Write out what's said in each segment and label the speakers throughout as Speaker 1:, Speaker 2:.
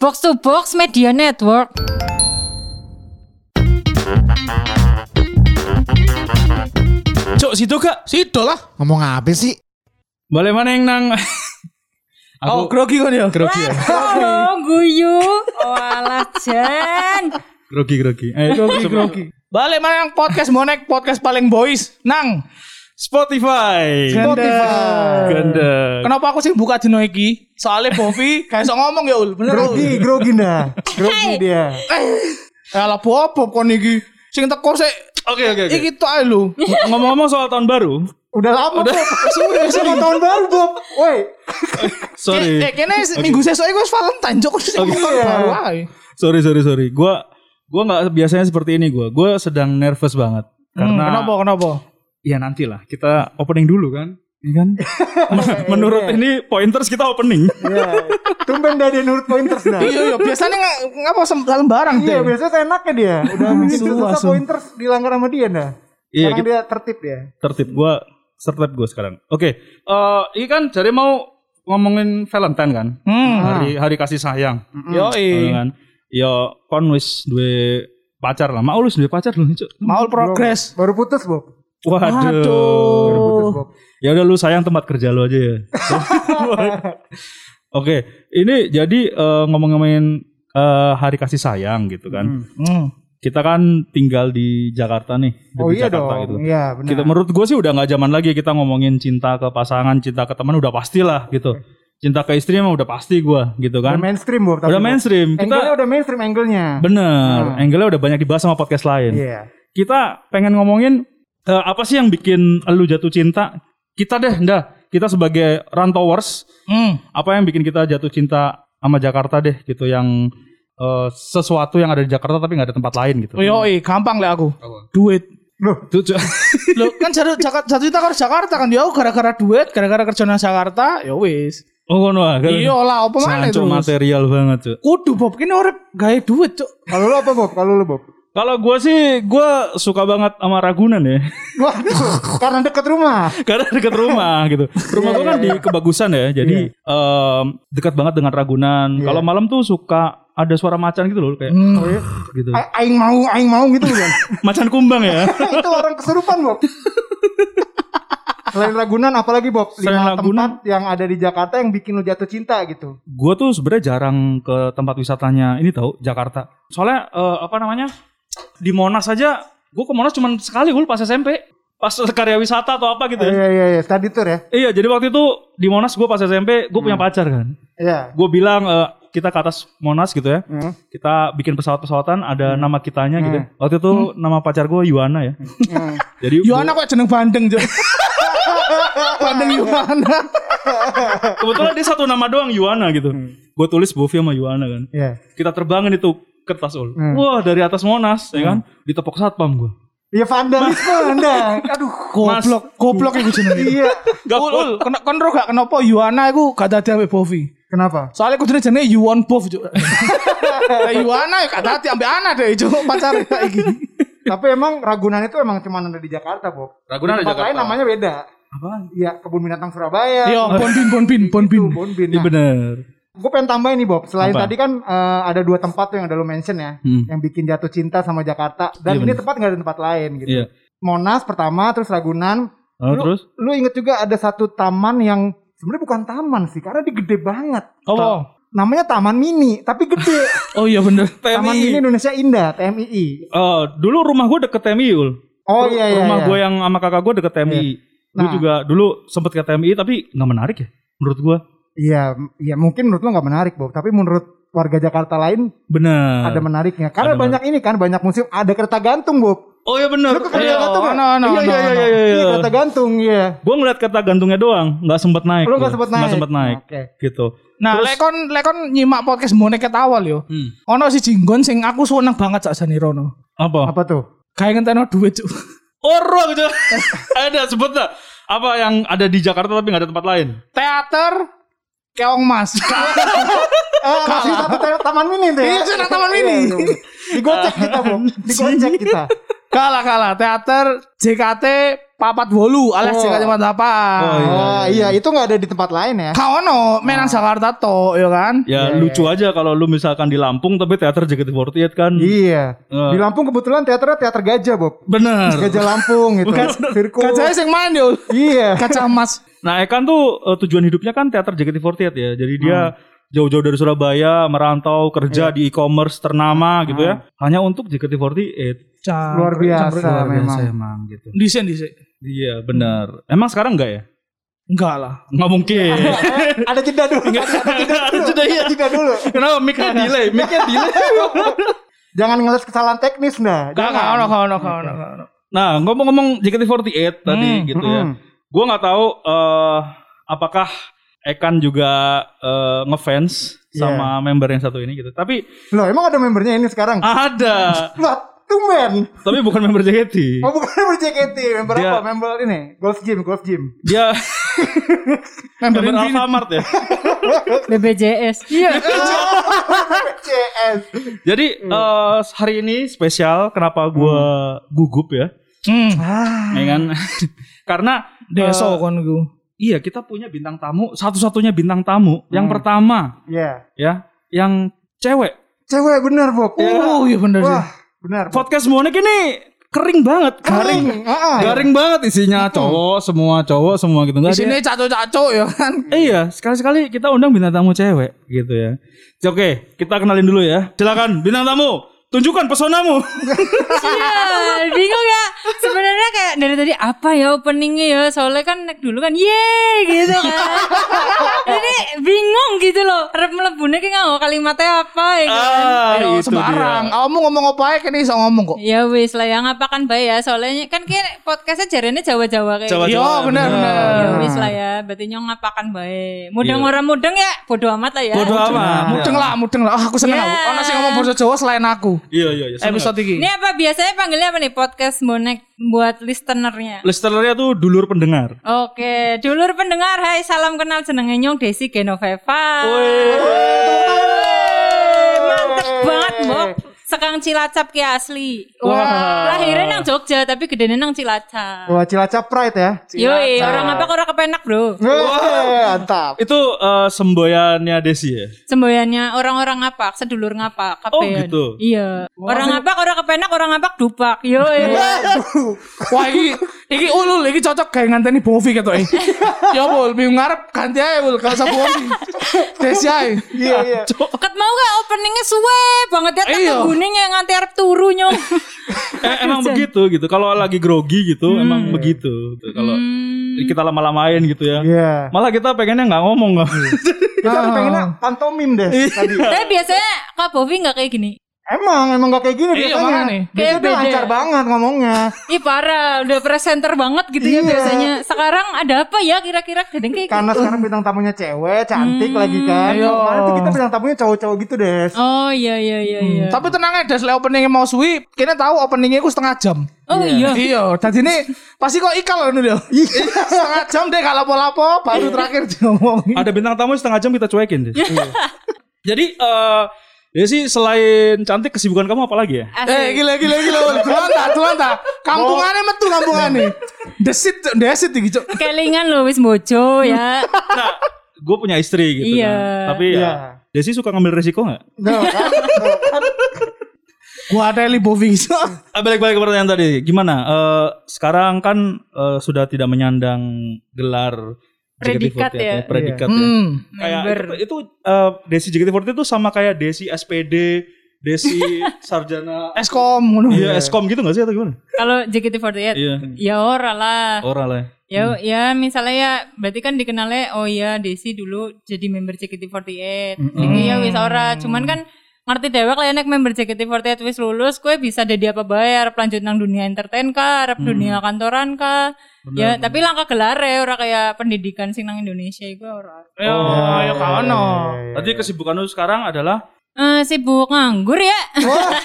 Speaker 1: Box to Box Media Network.
Speaker 2: Cok, situ gak?
Speaker 3: Sido lah.
Speaker 4: Ngomong apa sih?
Speaker 2: Boleh mana yang nang?
Speaker 3: oh, grogi kan ya?
Speaker 2: grogi ya.
Speaker 1: Halo, guyu. Walah, Jan.
Speaker 2: Grogi, grogi. Eh, grogi, grogi.
Speaker 3: Balik mana yang podcast bonek, podcast paling boys. Nang,
Speaker 2: Spotify.
Speaker 3: Spotify.
Speaker 2: Ganda.
Speaker 3: Kenapa aku sih buka dino iki? Soalnya Bovi kayak sok ngomong ya ul, bener ul.
Speaker 5: Grogi, grogi nah. Grogi dia.
Speaker 3: Eh lah bobo kon iki. Sing teko sik.
Speaker 2: Oke, oke, oke.
Speaker 3: Iki tok ae lu.
Speaker 2: Ngomong-ngomong soal tahun baru,
Speaker 5: Udah lama Bob. Sudah sama tahun baru Bob. Woi,
Speaker 2: sorry.
Speaker 3: Eh kene si- minggu sesuk iku wis Valentine cok sing
Speaker 2: Oke.
Speaker 3: ngomong baru ae.
Speaker 2: Sorry, sorry, sorry. Gua gua nggak biasanya seperti ini gua. Gua sedang nervous banget
Speaker 3: Hmm,
Speaker 2: karena
Speaker 3: kenapa kenapa?
Speaker 2: ya nantilah kita opening dulu kan. Iya kan?
Speaker 3: Iya,
Speaker 2: Men- Menurut ini pointers kita opening.
Speaker 5: ya. Tumben dari nurut pointers nah.
Speaker 3: Iya iya biasanya nggak ngapa sem- dalam barang deh.
Speaker 5: Iya, biasanya enaknya dia. Udah mungkin susah pointers dilanggar sama dia nah.
Speaker 2: Iya,
Speaker 5: Sekarang
Speaker 2: kita
Speaker 5: dia tertib dia.
Speaker 2: tertib gua tertib gua sekarang. Oke, eh ini kan jadi mau ngomongin Valentine kan.
Speaker 3: Hmm.
Speaker 2: Hari hari kasih sayang.
Speaker 3: Yo
Speaker 2: Ngono kan. Ya kon wis duwe pacar lah. Mau lu wis duwe pacar lho, Cuk.
Speaker 3: Maul progres.
Speaker 5: Baru putus Bob. Baru
Speaker 2: Waduh.
Speaker 5: putus Bob.
Speaker 2: Ya udah lu sayang tempat kerja lu aja ya. Oke, ini jadi eh, ngomong-ngomongin eh, hari kasih sayang gitu kan.
Speaker 3: Hmm.
Speaker 2: Kita kan tinggal di Jakarta nih, di
Speaker 5: Oh iya
Speaker 2: Jakarta
Speaker 5: dong.
Speaker 2: gitu.
Speaker 5: Iya, benar.
Speaker 2: Kita menurut gue sih udah nggak zaman lagi kita ngomongin cinta ke pasangan, cinta ke teman udah pastilah gitu. Cinta ke istri mah udah pasti gua gitu kan.
Speaker 5: Udah mainstream Bob. tapi,
Speaker 2: Udah
Speaker 5: Bob.
Speaker 2: mainstream.
Speaker 5: Angle-nya
Speaker 2: Kita
Speaker 5: udah mainstream angle-nya.
Speaker 2: bener, angle-nya udah banyak dibahas sama podcast lain.
Speaker 5: Iya.
Speaker 2: kita pengen ngomongin eh, apa sih yang bikin lu jatuh cinta? Kita deh, ndah. Kita sebagai rantauers,
Speaker 3: Hmm.
Speaker 2: apa yang bikin kita jatuh cinta sama Jakarta deh gitu yang eh, sesuatu yang ada di Jakarta tapi nggak ada tempat lain gitu.
Speaker 3: Yo Oh, iya, gampang lah aku. Duit.
Speaker 2: Itu cu-
Speaker 3: Loh kan jatuh Jakarta jatuh kita harus Jakarta kan ya gara-gara duit, gara-gara kerja nang Jakarta, ya wis.
Speaker 2: oh, ngono ah, kan?
Speaker 3: Iya lah, apa mana
Speaker 2: Sangat
Speaker 3: terus?
Speaker 2: material banget tuh.
Speaker 3: Kudu Bob, kini urip gawe duit, Cuk.
Speaker 5: Kalau lu apa Bob? Kalau lu Bob.
Speaker 2: Kalau gue sih, gue suka banget sama Ragunan ya,
Speaker 5: Waduh, karena deket rumah.
Speaker 2: karena deket rumah gitu. Rumah gue kan di Kebagusan ya, jadi em, dekat banget dengan Ragunan. Kalau malam tuh suka ada suara macan gitu loh, kayak
Speaker 5: Hmm.
Speaker 2: gitu.
Speaker 5: Oh iya. A- Aing mau, aing mau gitu kan.
Speaker 2: Macan kumbang ya.
Speaker 5: itu orang kesurupan Bob selain Ragunan apalagi Bob
Speaker 2: Selain
Speaker 5: lima
Speaker 2: Ragunan.
Speaker 5: tempat yang ada di Jakarta yang bikin lu jatuh cinta gitu
Speaker 2: gue tuh sebenarnya jarang ke tempat wisatanya ini tau Jakarta soalnya eh, apa namanya di Monas aja gue ke Monas cuma sekali gue pas SMP pas karya wisata atau apa gitu
Speaker 5: iya
Speaker 2: ya.
Speaker 5: iya iya study tour ya
Speaker 2: iya jadi waktu itu di Monas gue pas SMP gue punya pacar kan
Speaker 5: iya
Speaker 2: gue bilang eh, kita ke atas Monas gitu ya
Speaker 5: Hmm.
Speaker 2: kita bikin pesawat-pesawatan ada nama kitanya gitu ya. waktu itu
Speaker 5: Hmm.
Speaker 2: nama pacar gue Yuana ya jadi gua-
Speaker 3: Yohana Ya, kok jeneng bandeng, Cuk. bandeng Yohana.
Speaker 2: kebetulan dia satu nama doang Yuana gitu
Speaker 5: Hmm.
Speaker 2: gue tulis Bovi sama Yuana kan
Speaker 5: iya
Speaker 2: kita terbangin itu kertas ul.
Speaker 5: Hmm.
Speaker 2: Wah dari atas Monas ya kan ditepok satpam gua.
Speaker 5: iya vandalisme anda aduh
Speaker 3: Goblok, goblok iku jenenge.
Speaker 5: iya
Speaker 2: Gak
Speaker 3: Ul, ul, kena kon ro gak kenapa Yohana iku gak dadi ambek Bovi.
Speaker 5: kenapa
Speaker 3: Soalnya kudune jenenge You Want Bov, Cuk. Lah Yohana ya gak dadi ambek Ana deh, Cuk, pacare iki.
Speaker 5: tapi emang Ragunan itu emang cuma ada di Jakarta Bob
Speaker 2: Ragunan
Speaker 5: di tempat lain namanya beda
Speaker 2: Apaan?
Speaker 5: iya kebun binatang Surabaya
Speaker 3: Yo, Bonbin, Bonbin, Bonbin.
Speaker 5: Tuh, Bonbin.
Speaker 2: Iya
Speaker 5: Nah,
Speaker 2: bener.
Speaker 5: gue pengen tambahin nih Bob. Selain
Speaker 2: Apa?
Speaker 5: tadi kan eh, ada dua tempat tuh yang udah lo mention ya,
Speaker 2: Hmm.
Speaker 5: yang bikin jatuh cinta sama Jakarta. Dan
Speaker 2: Iya,
Speaker 5: ini
Speaker 2: bener.
Speaker 5: tempat nggak ada tempat lain gitu.
Speaker 2: Iya.
Speaker 5: Monas pertama, terus Ragunan.
Speaker 2: Lalu terus?
Speaker 5: Lu inget juga ada satu taman yang sebenarnya bukan taman sih, karena dia gede banget.
Speaker 3: Oh,
Speaker 5: Namanya Taman Mini, tapi gede.
Speaker 3: oh iya bener.
Speaker 5: taman Mini Indonesia Indah, TMII.
Speaker 2: Eh, dulu rumah gua deket TMI ul.
Speaker 5: Oh iya iya.
Speaker 2: rumah
Speaker 5: iya.
Speaker 2: gua ya. yang sama kakak gua deket TMI. Gua
Speaker 5: Nah.
Speaker 2: juga dulu sempet ke TMI tapi nggak menarik ya menurut gua.
Speaker 5: Iya, iya mungkin menurut lo nggak menarik Bob, tapi menurut warga Jakarta lain
Speaker 2: Bener.
Speaker 5: ada menariknya. Karena
Speaker 2: Ada
Speaker 5: banyak ini kan, banyak museum, ada kereta gantung Bob.
Speaker 2: oh iya bener.
Speaker 5: Lu ke kereta
Speaker 2: Iya.
Speaker 5: gantung nggak?
Speaker 3: no, no,
Speaker 5: Iya, iya,
Speaker 3: no,
Speaker 5: iya,
Speaker 3: no.
Speaker 5: iya, iya. Kereta gantung, iya.
Speaker 2: Gua ngeliat kata gantungnya doang, nggak sempet naik.
Speaker 5: Lu
Speaker 2: gua.
Speaker 5: gak sempet naik.
Speaker 2: Oh, Nggak sempet naik.
Speaker 5: Oke.
Speaker 2: Gitu.
Speaker 3: Nah, lekon lekon nyimak podcast bonek ket awal yo. Ono si Jinggon sing aku seneng banget sak jane rono.
Speaker 2: Apa?
Speaker 5: Apa tuh?
Speaker 3: Kayak ngenteno duit, Cuk.
Speaker 2: Orang gitu. ada sebut lah. Apa yang ada di Jakarta tapi nggak ada tempat lain?
Speaker 3: Teater Keong Mas.
Speaker 5: Eh, masih satu ta- taman mini tuh ya.
Speaker 3: Iya, sih, ada taman mini.
Speaker 5: Iya, iya, iya. Digocek kita, Bob. Digocek kita.
Speaker 3: kalah kalah teater JKT papat wolu alias
Speaker 5: Oh.
Speaker 3: oh. Kacamata Papat.
Speaker 2: Oh,
Speaker 5: Oh iya, itu nggak ada di tempat lain ya.
Speaker 3: Kau ono menan Jakarta to, ya kan?
Speaker 2: Ya lucu aja kalau lu misalkan di Lampung tapi teater JKT48 kan.
Speaker 5: Iya.
Speaker 2: Eh.
Speaker 5: Di Lampung kebetulan teaternya teater gajah, Bob.
Speaker 2: Bener.
Speaker 5: Gajah Lampung gitu. Sirkus.
Speaker 3: Kacanya sing main yo.
Speaker 5: Iya.
Speaker 3: Kaca emas.
Speaker 2: Nah Ekan tuh eh, tujuan hidupnya kan teater JKT48 ya. Jadi dia jauh-jauh dari Surabaya merantau kerja di e-commerce ternama gitu ya. Hanya untuk JKT48.
Speaker 5: Luar biasa memang.
Speaker 2: emang gitu.
Speaker 3: Desain desain.
Speaker 2: Iya benar. Emang sekarang enggak ya?
Speaker 3: Enggak lah.
Speaker 2: Nggak mungkin.
Speaker 5: Ada jeda dulu.
Speaker 2: Ada jeda, iya.
Speaker 5: Ada jeda dulu.
Speaker 2: Kenapa mic-nya delay? Mic-nya delay.
Speaker 5: Jangan ngeliat kesalahan teknis nah.
Speaker 3: Enggak, enggak ono, enggak ono, enggak ono, enggak ono.
Speaker 2: Nah, ngomong-ngomong JKT48 tadi
Speaker 3: Hmm,
Speaker 2: gitu ya. Gua nggak tahu eh, apakah Ekan juga eh, ngefans sama member yang satu ini gitu. Tapi
Speaker 5: Loh, emang ada membernya ini sekarang?
Speaker 2: Ah. ada,
Speaker 5: Lah, tumben.
Speaker 2: tapi bukan member
Speaker 3: Iya.
Speaker 2: JKT.
Speaker 5: Oh, bukan member JKT, member
Speaker 2: Dia-
Speaker 5: apa? Member ini, Golf Gym, Golf Gym.
Speaker 2: Dia
Speaker 3: Member
Speaker 2: member
Speaker 3: Infinity.
Speaker 2: Alfamart ya.
Speaker 1: BBJS. Iya.
Speaker 5: CS.
Speaker 2: Jadi eh, hari ini spesial kenapa gua gugup ya?
Speaker 3: Hmm.
Speaker 2: Ya kan? Karena
Speaker 3: Deso
Speaker 2: eh,
Speaker 3: kon iku.
Speaker 2: iya, kita punya bintang tamu, satu-satunya bintang tamu yang pertama
Speaker 5: Iya.
Speaker 2: ya, yang cewek.
Speaker 5: Cewek bener, Bob.
Speaker 3: Oh, iya bener sih.
Speaker 5: Wah, benar.
Speaker 2: podcast Monik ini kering banget, garing.
Speaker 5: Heeh.
Speaker 2: Garing banget isinya cowok semua, cowok semua gitu
Speaker 3: Ah. Hmm. Di
Speaker 2: enggak
Speaker 3: sini caco-caco ya kan.
Speaker 2: Iya, sekali-sekali kita undang bintang tamu cewek gitu ya. Oke, kita kenalin dulu ya. Silakan bintang tamu, tunjukkan pesonamu.
Speaker 1: Sial, bingung ya. Sebenarnya kayak dari tadi apa ya openingnya ya? Soalnya kan nek dulu kan ye gitu kan. Jadi bingung gitu loh. Rep melebune ki nganggo kalimatnya apa ya kan.
Speaker 2: ah,
Speaker 3: Ayo
Speaker 2: itu
Speaker 3: sembarang.
Speaker 2: dia.
Speaker 3: Kamu ngomong apa ae kene iso ngomong kok.
Speaker 1: Ya wis lah ya ngapakan bae ya. Soalnya kan kayak podcastnya jarene Jawa-Jawa kayak. gitu.
Speaker 2: Jawa-Jawa, Iya.
Speaker 3: Yo, bener, bener.
Speaker 1: Ya wis lah ya, berarti nyong ngapakan bae. Mudeng
Speaker 2: Iya.
Speaker 1: ora mudeng ya, bodo amat lah ya.
Speaker 2: Bodoh amat.
Speaker 3: Mudeng lah, mudeng lah. Ah, aku seneng
Speaker 1: Ya.
Speaker 3: aku. Ono sing ngomong bahasa Jawa selain aku.
Speaker 2: Iya, iya, iya. Episode
Speaker 3: Episode iki.
Speaker 1: Ini apa biasanya panggilnya apa nih podcast bonek buat listenernya?
Speaker 2: listenernya tuh dulur pendengar.
Speaker 1: Oke, dulur pendengar, hai salam kenal jenenge Nyong Desi Genoveva. Mantep banget, Mbok. Sekang Cilacap ki asli. Wah. Lahirnya nang Jogja tapi gedenya nang Cilacap.
Speaker 5: Wah, Cilacap Pride ya.
Speaker 1: Yoi, orang apa orang kepenak, Bro.
Speaker 5: Wah, mantap.
Speaker 2: Itu eh, semboyannya Desi ya.
Speaker 1: Semboyannya orang-orang ngapak, sedulur ngapak, kapean.
Speaker 2: Oh, gitu.
Speaker 1: Iya. Orang ngapak, orang kepenak, orang ngapak dupak. Yoi.
Speaker 3: Wah iki iki ulul iki cocok kayak nganteni Bovi ketoke. ya bol bingung ngarep ganti ae bol gak usah Bovi. Desi ae.
Speaker 5: Iya, iya.
Speaker 1: Ket mau gak openingnya suwe banget ya
Speaker 3: Iya.
Speaker 1: tak guning yang nganti arep turu nyong.
Speaker 2: Eh, emang begitu gitu. Kalau lagi grogi gitu,
Speaker 3: Hmm.
Speaker 2: emang begitu. Gitu. Kalau kita lama-lamain gitu ya.
Speaker 5: Iya.
Speaker 2: Malah kita pengennya nggak ngomong nggak.
Speaker 5: Kita
Speaker 3: Nah.
Speaker 5: pengennya pantomim deh
Speaker 3: Iya.
Speaker 5: tadi.
Speaker 1: Tapi biasanya Kak Bovi gak kayak gini.
Speaker 5: Emang emang gak kayak gini
Speaker 3: Iya,
Speaker 5: biasanya.
Speaker 3: makanya.
Speaker 5: Biasanya
Speaker 1: Kayak
Speaker 5: dia
Speaker 1: beda.
Speaker 5: lancar banget ngomongnya.
Speaker 1: Ih parah, udah presenter banget gitu ya
Speaker 5: Iya. Kan
Speaker 1: biasanya. Sekarang ada apa ya kira-kira kadang kayak
Speaker 5: Karena sekarang bintang tamunya cewek, cantik lagi kan.
Speaker 3: Iya.
Speaker 5: Kemarin tuh kita bintang tamunya cowok-cowok gitu deh.
Speaker 1: Oh iya iya iya iya.
Speaker 3: Tapi tenang ae Des le openingnya mau suwi, kene tahu openingnya ku setengah jam.
Speaker 1: Oh iya.
Speaker 3: Iya, tadi ini pasti kok ikal ngono lho. ya. Setengah jam deh kalau
Speaker 1: Iya.
Speaker 3: lapo-lapo baru terakhir diomongin.
Speaker 2: Ada bintang tamu setengah jam kita cuekin. Des. Jadi eh Desi selain cantik kesibukan kamu apa lagi ya?
Speaker 3: Eh,
Speaker 1: Asli. Oh.
Speaker 3: gila gila gila. Tuan ta, tuan ta. Kampungane metu kampungane. Desit, Cuk. desit iki, Cuk.
Speaker 1: Kelingan lo wis mojo ya.
Speaker 2: Nah, gue punya istri gitu
Speaker 1: Iya.
Speaker 2: kan. Tapi ya
Speaker 5: Iya.
Speaker 2: Desi suka ngambil resiko nggak?
Speaker 5: Tuh, kan? Tuh, kan?
Speaker 3: Gua ada Eli Bovi.
Speaker 1: Iya.
Speaker 2: Ah, Balik-balik ke pertanyaan tadi, gimana? Eh sekarang kan eh, sudah tidak menyandang gelar
Speaker 1: Predikat
Speaker 2: JKT48
Speaker 1: ya.
Speaker 2: predikat ya.
Speaker 3: Hmm.
Speaker 2: Kayak
Speaker 1: Member.
Speaker 2: itu, itu eh, Desi JKT48 itu sama kayak Desi SPD, Desi Sarjana,
Speaker 3: Eskom ngono.
Speaker 2: iya Eskom gitu nggak sih atau gimana?
Speaker 1: Kalau JKT48
Speaker 2: Iya,
Speaker 1: ya ora lah.
Speaker 2: orang lah. ya.
Speaker 1: Ya
Speaker 3: Hmm.
Speaker 1: ya misalnya ya berarti kan dikenalnya oh iya Desi dulu jadi member JKT48.
Speaker 3: Hmm,
Speaker 1: Iki ya wis ora, cuman kan ngerti dewek lah enek member JKT48 wis lulus kue bisa jadi apa bayar pelanjut nang dunia entertain kah arep
Speaker 3: Hmm.
Speaker 1: dunia kantoran kah ya tapi langkah gelar ya ora kayak pendidikan sing nang Indonesia iku ora
Speaker 5: Oh, iya,
Speaker 3: Ya, ya
Speaker 1: oh.
Speaker 3: kaono.
Speaker 2: Tadi kesibukan lu sekarang adalah
Speaker 1: eh sibuk nganggur ya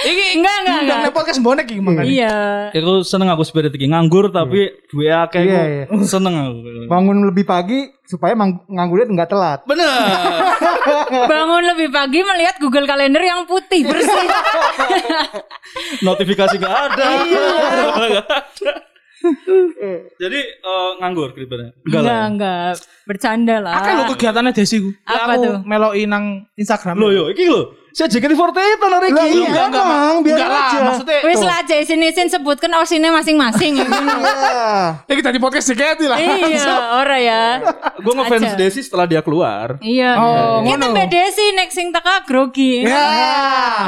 Speaker 1: iki enggak enggak enggak
Speaker 3: Nang podcast bonek iki makane.
Speaker 1: iya
Speaker 2: Aku seneng aku spirit iki nganggur tapi duwe akeh
Speaker 5: Iya,
Speaker 2: aku seneng aku.
Speaker 5: Bangun lebih pagi supaya mang- nganggurnya nggak telat.
Speaker 2: Bener.
Speaker 1: bangun lebih pagi melihat Google Calendar yang putih bersih Iya.
Speaker 2: Notifikasi gak ada. Gak ada. Jadi eh, nganggur kribernya.
Speaker 1: Enggak, enggak, Bercanda lah.
Speaker 3: ya. Akeh lho kegiatannya Desi ku. Ya,
Speaker 1: Ah. Apa
Speaker 3: aku
Speaker 1: tuh?
Speaker 3: Meloi nang Instagram.
Speaker 2: Lo yo, iki lo. Saya JKT48 lho
Speaker 5: Lah,
Speaker 2: iki.
Speaker 5: iya. Emang, biarin
Speaker 3: enggak lah,
Speaker 5: aja.
Speaker 3: maksudnya
Speaker 1: Wis
Speaker 3: tuh.
Speaker 1: lah Jay sini sin sebutkan orsinnya masing-masing. ya.
Speaker 3: Ya kita di podcast JKT lah.
Speaker 1: iya, ora ya.
Speaker 2: Gue ngefans Desi setelah dia keluar.
Speaker 1: Iya.
Speaker 3: Oh,
Speaker 1: Kita
Speaker 3: ngono.
Speaker 1: beda sih nek sing teka grogi.
Speaker 3: Ya.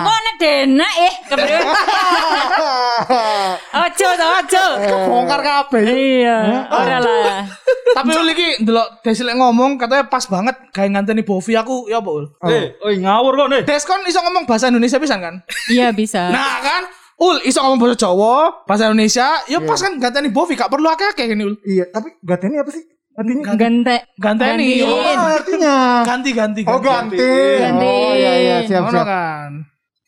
Speaker 1: Kok nek dena eh kepriwe? Ojo to ojo.
Speaker 3: Kebongkar kabeh.
Speaker 1: Iya,
Speaker 3: Eh,
Speaker 1: ora lah.
Speaker 3: Tapi ul iki ndelok Desi lek ngomong katanya pas banget gawe nganteni Bovi aku ya apa ul.
Speaker 5: Oh.
Speaker 2: Eh, oi ngawur kok nih.
Speaker 3: Des kon iso ngomong bahasa Indonesia pisan kan?
Speaker 1: Iya bisa.
Speaker 3: Nah kan Ul iso ngomong bahasa Jawa, bahasa Indonesia, ya pas kan ganteni Bovi gak perlu akeh-akeh ini Ul.
Speaker 5: Iya, tapi gateni apa sih? Artinya
Speaker 1: Gante.
Speaker 3: Ganteni.
Speaker 1: Gantiin.
Speaker 5: apa artinya?
Speaker 3: Ganti-ganti.
Speaker 5: Oh ganti. Oh iya iya siap
Speaker 3: Ngono
Speaker 5: siap.
Speaker 3: kan.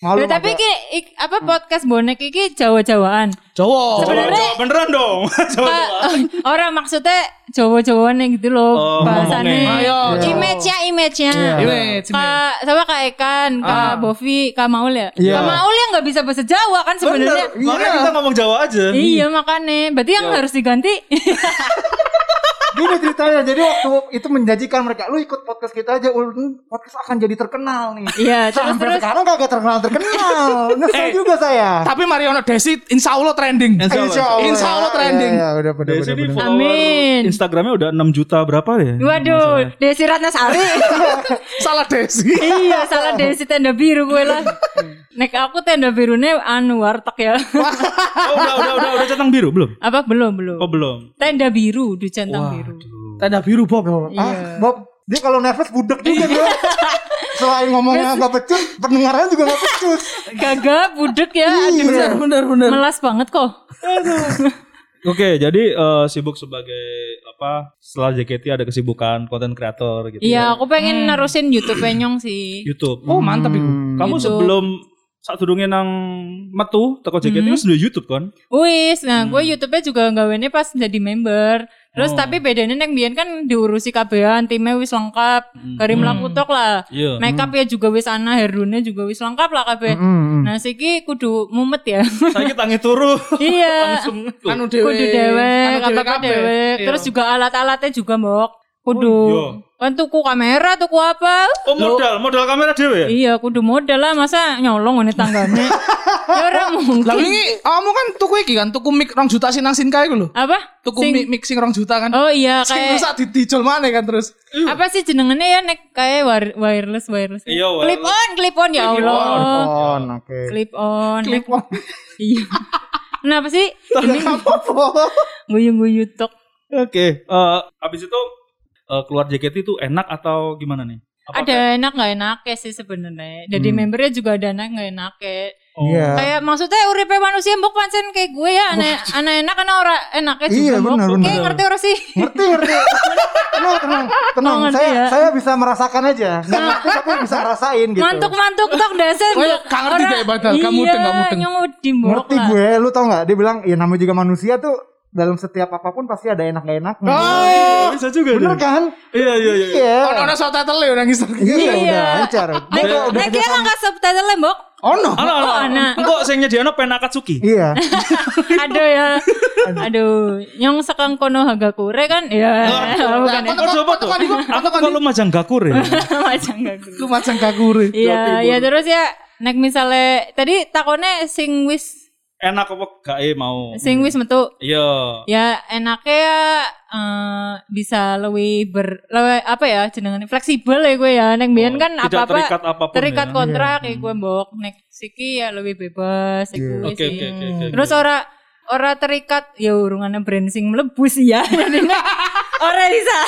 Speaker 5: Malu.
Speaker 1: Ya, tapi
Speaker 5: Mada.
Speaker 1: ki ik- apa podcast bonek iki Jawa-jawaan.
Speaker 3: Jawa.
Speaker 1: Sebenarnya-
Speaker 2: Jawa- Jawa- beneran dong. Jawa-
Speaker 1: Pak, orang maksudnya Jawa-jawaan yang gitu loh
Speaker 2: Oh,
Speaker 1: bahasanya.
Speaker 3: ngomongnya. Ayo, Jawa.
Speaker 1: image ya, image nya.
Speaker 5: Iya.
Speaker 3: Iwe, sini.
Speaker 1: Kak, sama Kak Ekan, Kak
Speaker 3: Ah.
Speaker 1: Bovi, Kak Maul ya.
Speaker 5: Iya.
Speaker 1: Kak Maul ya nggak bisa bahasa Jawa kan sebenarnya.
Speaker 2: Bener. Makanya kita ngomong Jawa aja.
Speaker 1: Iya makanya, berarti yang harus diganti. kan-
Speaker 5: Gini ceritanya, jadi waktu itu menjanjikan mereka, lu ikut podcast kita aja, ul, hmm, podcast akan jadi terkenal nih.
Speaker 1: Iya, terus
Speaker 5: Sampai
Speaker 1: terus.
Speaker 5: sekarang kagak terkenal terkenal. Nyesel
Speaker 3: Eh,
Speaker 5: juga saya.
Speaker 3: Tapi Mariono Desi insya Allah trending.
Speaker 2: Insya Allah.
Speaker 3: Insya Allah trending.
Speaker 5: Ya, ya, udah, udah,
Speaker 2: Desi
Speaker 5: udah,
Speaker 2: ini
Speaker 5: udah.
Speaker 2: follower
Speaker 1: Amin.
Speaker 2: Instagramnya udah 6 juta berapa ya?
Speaker 1: Waduh, Desi Ratnasari.
Speaker 3: Salah Desi.
Speaker 5: Hmm.
Speaker 1: iya, salah Desi tenda biru gue lah. Nek aku tenda birunya anu warteg ya.
Speaker 2: Oh, udah udah udah udah centang biru belum?
Speaker 1: apa belum belum?
Speaker 2: Oh belum.
Speaker 1: Tenda biru, di centang biru.
Speaker 3: Tanda biru Bob.
Speaker 5: Ah,
Speaker 1: Iya.
Speaker 5: Bob, dia kalau nervous budek juga
Speaker 3: Iya.
Speaker 5: dia. Selain ngomongnya nggak pecus, pendengarannya juga nggak pecus.
Speaker 1: Gagap, budek
Speaker 2: Iya,
Speaker 1: ya. Aduh,
Speaker 3: Bener bener bener.
Speaker 1: melas banget kok.
Speaker 2: Oke, jadi eh, sibuk sebagai apa? Setelah JKT ada kesibukan konten kreator gitu. ya.
Speaker 1: Iya, aku pengen nerusin YouTube penyong sih.
Speaker 2: YouTube.
Speaker 3: Oh mantap itu.
Speaker 2: Kamu
Speaker 1: YouTube.
Speaker 2: sebelum saat durungnya nang metu teko JKT wis duwe YouTube kan?
Speaker 1: Wis, nah gue YouTube-nya juga gawennya pas jadi member. Terus
Speaker 2: Oh.
Speaker 1: tapi bedanya nek biyen kan diurusi kabehan, timnya wis lengkap, karim laku tok lah.
Speaker 2: Hmm. Iya.
Speaker 1: Makeup ya juga wis ana, hairdo-nya juga wis lengkap lah
Speaker 2: Hmm,
Speaker 1: kabeh. Nah, siki kudu mumet ya.
Speaker 2: Saiki tangi turu.
Speaker 1: iya.
Speaker 2: Langsung metu.
Speaker 3: Anu dewe.
Speaker 1: Kudu dewek,
Speaker 3: Anu
Speaker 1: apa-apa
Speaker 3: kabeh.
Speaker 1: dewek.
Speaker 3: Iya.
Speaker 1: Terus juga alat-alatnya juga, Mbok. Kudu
Speaker 2: Oh, iya.
Speaker 1: kan tuku kamera, tuku apa?
Speaker 2: Oh modal, modal kamera dhewe ya?
Speaker 1: Iya, kudu modal lah masa nyolong ngene tanggane. ya ora
Speaker 3: Lah
Speaker 1: mungkin.
Speaker 3: ini kamu kan tuku iki kan tuku mic rong juta sing nang Sinkai ku lho.
Speaker 1: Apa?
Speaker 3: Tuku
Speaker 1: Sing-
Speaker 3: mic mic sing rong juta kan.
Speaker 1: Oh iya
Speaker 3: Sing
Speaker 1: kayak
Speaker 3: rusak didicul mana kan terus.
Speaker 1: apa sih jenengannya ya nek kayak wire- wireless wireless.
Speaker 2: Iya,
Speaker 1: Clip on, clip on ya Allah.
Speaker 5: On, Oh, oke.
Speaker 1: Clip on.
Speaker 3: Clip on.
Speaker 1: Iya. Kenapa sih?
Speaker 5: Ya, apa-apa.
Speaker 1: Guyu-guyu tok.
Speaker 2: Oke. Eh, habis itu eh, keluar JKT itu enak atau gimana nih? Apa-
Speaker 1: Ada enak nggak enaknya sih sebenarnya. Jadi
Speaker 3: Hmm.
Speaker 1: membernya juga ada enak nggak enaknya.
Speaker 2: Oh.
Speaker 5: Iya.
Speaker 3: Ya.
Speaker 1: Kayak maksudnya uripe manusia mbok pancen kayak gue ya aneh aneh enak karena ora enaknya juga
Speaker 5: Iya,
Speaker 1: mbok.
Speaker 5: benar,
Speaker 1: Oke,
Speaker 5: benar.
Speaker 1: ngerti ora sih?
Speaker 5: Ngerti, ngerti. Tenang, tenang, tenang.
Speaker 1: Oh, ngerti
Speaker 5: saya,
Speaker 1: ya. Nah.
Speaker 5: saya bisa merasakan aja. Nggak ngerti tapi bisa rasain gitu.
Speaker 1: Mantuk-mantuk tok dasar.
Speaker 3: Oh, iya,
Speaker 1: Mbok.
Speaker 3: gak ngerti
Speaker 1: Ora-
Speaker 3: deh, Badal. Gak mudeng, gak mudeng.
Speaker 1: Iya, nyudi mbok
Speaker 5: Ngerti
Speaker 1: lah.
Speaker 5: gue, lu tau nggak? Dia bilang, ya namanya juga manusia tuh dalam setiap apapun pasti ada enak gak enak.
Speaker 3: Oh.
Speaker 2: Bisa juga
Speaker 5: Bener
Speaker 2: deh.
Speaker 5: kan?
Speaker 2: Iya iya iya.
Speaker 5: Iya.
Speaker 3: Ono-ono subtitle ya nangis terus.
Speaker 5: Iya,
Speaker 1: Iya.
Speaker 5: udah lancar. Gue
Speaker 1: Nek
Speaker 5: udah
Speaker 1: Eh, nek
Speaker 5: kerja
Speaker 1: dia langkah subtitle mbok.
Speaker 5: Ono.
Speaker 2: Ana ana.
Speaker 1: Oh, ana.
Speaker 2: Engko sing nyediano pen Akatsuki.
Speaker 5: Iya.
Speaker 1: Aduh ya. Aduh, nyong sekang kono hagakure kan? Ya,
Speaker 2: Oh.
Speaker 1: bukan ya.
Speaker 2: Kok Nah, coba tuh? Aku kok lumajang ya? gakure.
Speaker 1: Macam hagakure.
Speaker 3: Lumajang kagure.
Speaker 1: Iya, ya terus ya nek misalnya tadi takone sing wis
Speaker 2: Enak apa gak eh, mau?
Speaker 1: sing wis metu
Speaker 2: Iya.
Speaker 1: ya enaknya ya eh, bisa lebih ber lewe- apa ya jenengan fleksibel ya gue ya nek biyen kan
Speaker 2: Oh, Tidak
Speaker 1: apa-apa
Speaker 2: terikat apapun.
Speaker 1: terikat
Speaker 2: ya.
Speaker 1: kontrak ya gue mbok nek siki ya lebih bebas iku
Speaker 5: Iya.
Speaker 1: wis
Speaker 2: Oke oke
Speaker 1: sih.
Speaker 2: oke oke.
Speaker 1: Terus ora ora terikat ya urungannya branding mlebu sih ya. Jadi, ora bisa.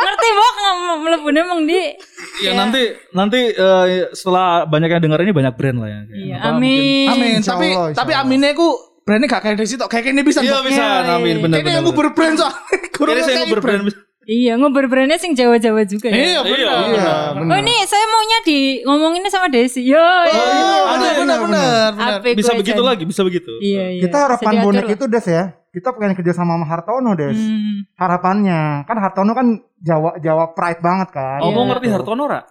Speaker 1: Ngerti mbok ngomong mlebune mong di.
Speaker 2: ya nanti nanti eh, setelah banyak yang dengar ini banyak brand lah ya.
Speaker 1: Iya,
Speaker 2: Apa,
Speaker 1: amin.
Speaker 3: Amin.
Speaker 5: Insya
Speaker 3: Tapi
Speaker 5: Allah, insya
Speaker 3: tapi
Speaker 5: Allah.
Speaker 3: aminnya ku brandnya gak kayak Desi tok. Kayak ini bisa.
Speaker 2: mungkin- Iya
Speaker 3: Tok.
Speaker 2: bisa. Amin benar benar.
Speaker 3: Kayaknya yang
Speaker 2: benar.
Speaker 3: Uber brand soalnya.
Speaker 2: Kayaknya saya yang berbrand.
Speaker 1: Iya, ngobrol brandnya sing Jawa-Jawa juga ya.
Speaker 3: Iya,
Speaker 2: Iya.
Speaker 3: benar.
Speaker 5: Iya,
Speaker 1: Oh
Speaker 5: benar.
Speaker 1: ini saya maunya di ngomonginnya sama Desi. Yo, yo.
Speaker 3: Iya,
Speaker 2: Oh,
Speaker 3: benar, benar, benar.
Speaker 1: Ape
Speaker 2: Bisa
Speaker 1: gue
Speaker 2: begitu
Speaker 1: jadi-
Speaker 2: lagi, bisa begitu.
Speaker 1: Iya, iya.
Speaker 5: Kita harapan
Speaker 1: Bisa diatur
Speaker 5: bonek
Speaker 1: lah.
Speaker 5: itu Des ya. Kita pengen kerja sama sama Hartono Des.
Speaker 1: Hmm.
Speaker 5: Harapannya kan Hartono kan Jawa Jawa pride banget kan.
Speaker 2: Oh,
Speaker 1: Iya.
Speaker 2: mau ngerti Hartono ora?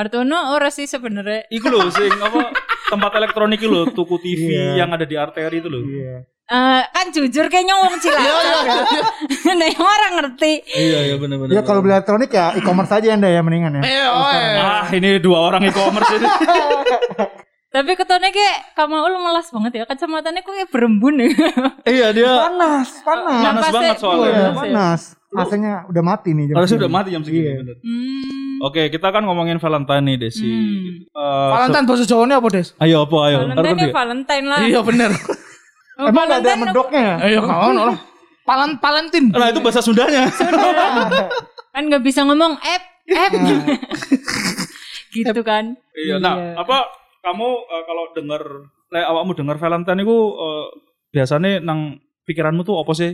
Speaker 1: Hartono ora sih sebenarnya.
Speaker 2: Iku loh sing apa tempat elektronik itu loh, tuku TV
Speaker 5: Iya.
Speaker 2: yang ada di arteri itu loh.
Speaker 5: Iya.
Speaker 1: eh, kan jujur kayaknya wong cilacap. Nah, yang orang ngerti.
Speaker 4: Iya iya benar-benar.
Speaker 5: Ya kalau beli elektronik ya e-commerce aja anda ya mendingan ya.
Speaker 3: Eh, oi.
Speaker 2: Ah, ini dua orang e-commerce ini.
Speaker 1: Tapi ketone kayak Kamaul melas banget ya. Kacamatanya kok kayak berembun ya.
Speaker 2: iya dia
Speaker 5: Panas, panas.
Speaker 2: panas
Speaker 1: Napasnya-
Speaker 2: banget soalnya.
Speaker 5: Iya, Iya.
Speaker 1: Panas ya.
Speaker 5: panas. AC-nya udah mati nih. jam
Speaker 2: Harusnya
Speaker 5: segini.
Speaker 2: udah mati jam segini. bener.
Speaker 1: Hmm.
Speaker 2: Oke, kita kan ngomongin Valentine nih, Desi.
Speaker 1: Hmm.
Speaker 2: Eh,
Speaker 3: Valentine bahasa Jawanya apa,
Speaker 2: se-
Speaker 3: Des?
Speaker 2: ayo apa ayo. Harus
Speaker 1: Valentine ya
Speaker 2: dia.
Speaker 1: Valentine lah.
Speaker 3: Iya bener.
Speaker 1: Oh,
Speaker 5: Emang nggak ada
Speaker 1: Valentine
Speaker 5: medoknya ya?
Speaker 3: Ayo kawan lah. Palen Palentin.
Speaker 2: Nah, itu bahasa Sundanya.
Speaker 1: kan nggak bisa ngomong app app
Speaker 5: Nah.
Speaker 1: gitu kan
Speaker 2: iya. Nah, apa kamu eh, kalau dengar le awakmu dengar Valentine itu eh, biasanya nang pikiranmu tuh apa sih?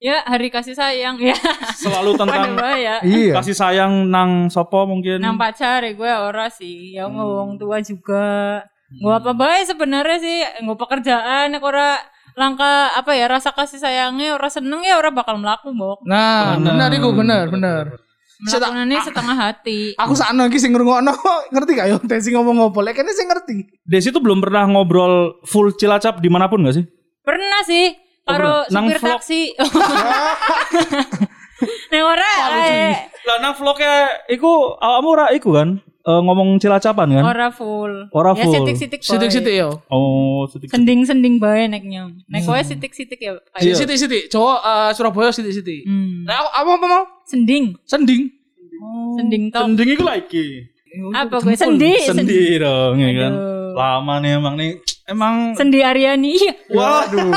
Speaker 1: ya hari kasih sayang ya
Speaker 2: Selalu
Speaker 1: waduh
Speaker 2: tentang
Speaker 1: ya
Speaker 5: Iya.
Speaker 2: kasih sayang nang sopo mungkin.
Speaker 1: nang pacar ya gue ora sih ya
Speaker 2: Hmm.
Speaker 1: ngomong tua juga gue apa baik sebenarnya sih gue pekerjaan nek ora langka apa ya rasa kasih sayangnya ora seneng ya ora bakal melaku mbok
Speaker 3: Nah, bener iku bener, bener. Cetak-
Speaker 1: melakukannya
Speaker 2: Ah.
Speaker 1: setengah hati
Speaker 3: Aku sakno iki sing ngrungokno ngerti gak yo Des sing ngomong ngopo? Lek kene sing ngerti.
Speaker 2: Desi tuh belum pernah ngobrol full cilacap dimanapun gak sih?
Speaker 1: pernah sih karo
Speaker 2: pernah. Oh, Nang
Speaker 1: supir
Speaker 2: vlog.
Speaker 1: taksi nek ora eh,
Speaker 2: Lah nang vlognya iku awakmu ora iku kan Eh, ngomong cilacapan kan?
Speaker 1: ora full
Speaker 2: Ora
Speaker 1: ya
Speaker 2: full.
Speaker 1: sitik-sitik boy.
Speaker 3: Sitik-sitik yo.
Speaker 2: Oh, sedikit.
Speaker 1: Sending-sending bae neknya. Nek kowe
Speaker 2: Hmm.
Speaker 1: sitik-sitik ya. Pak.
Speaker 2: Iya.
Speaker 3: Sitik-sitik. Jawa eh, Surabaya sitik-sitik.
Speaker 1: Hmm.
Speaker 3: Nah, aku- apa apa mau?
Speaker 1: Sending,
Speaker 3: Sending.
Speaker 1: sending tong.
Speaker 2: Oh, Sending iku lagi.
Speaker 1: Apa kowe sendi? Sendi,
Speaker 2: Sendi dong ya kan.
Speaker 1: Aduh.
Speaker 2: Lama nih emang nih. Emang
Speaker 1: sendi Aryani. Iya,
Speaker 2: waduh.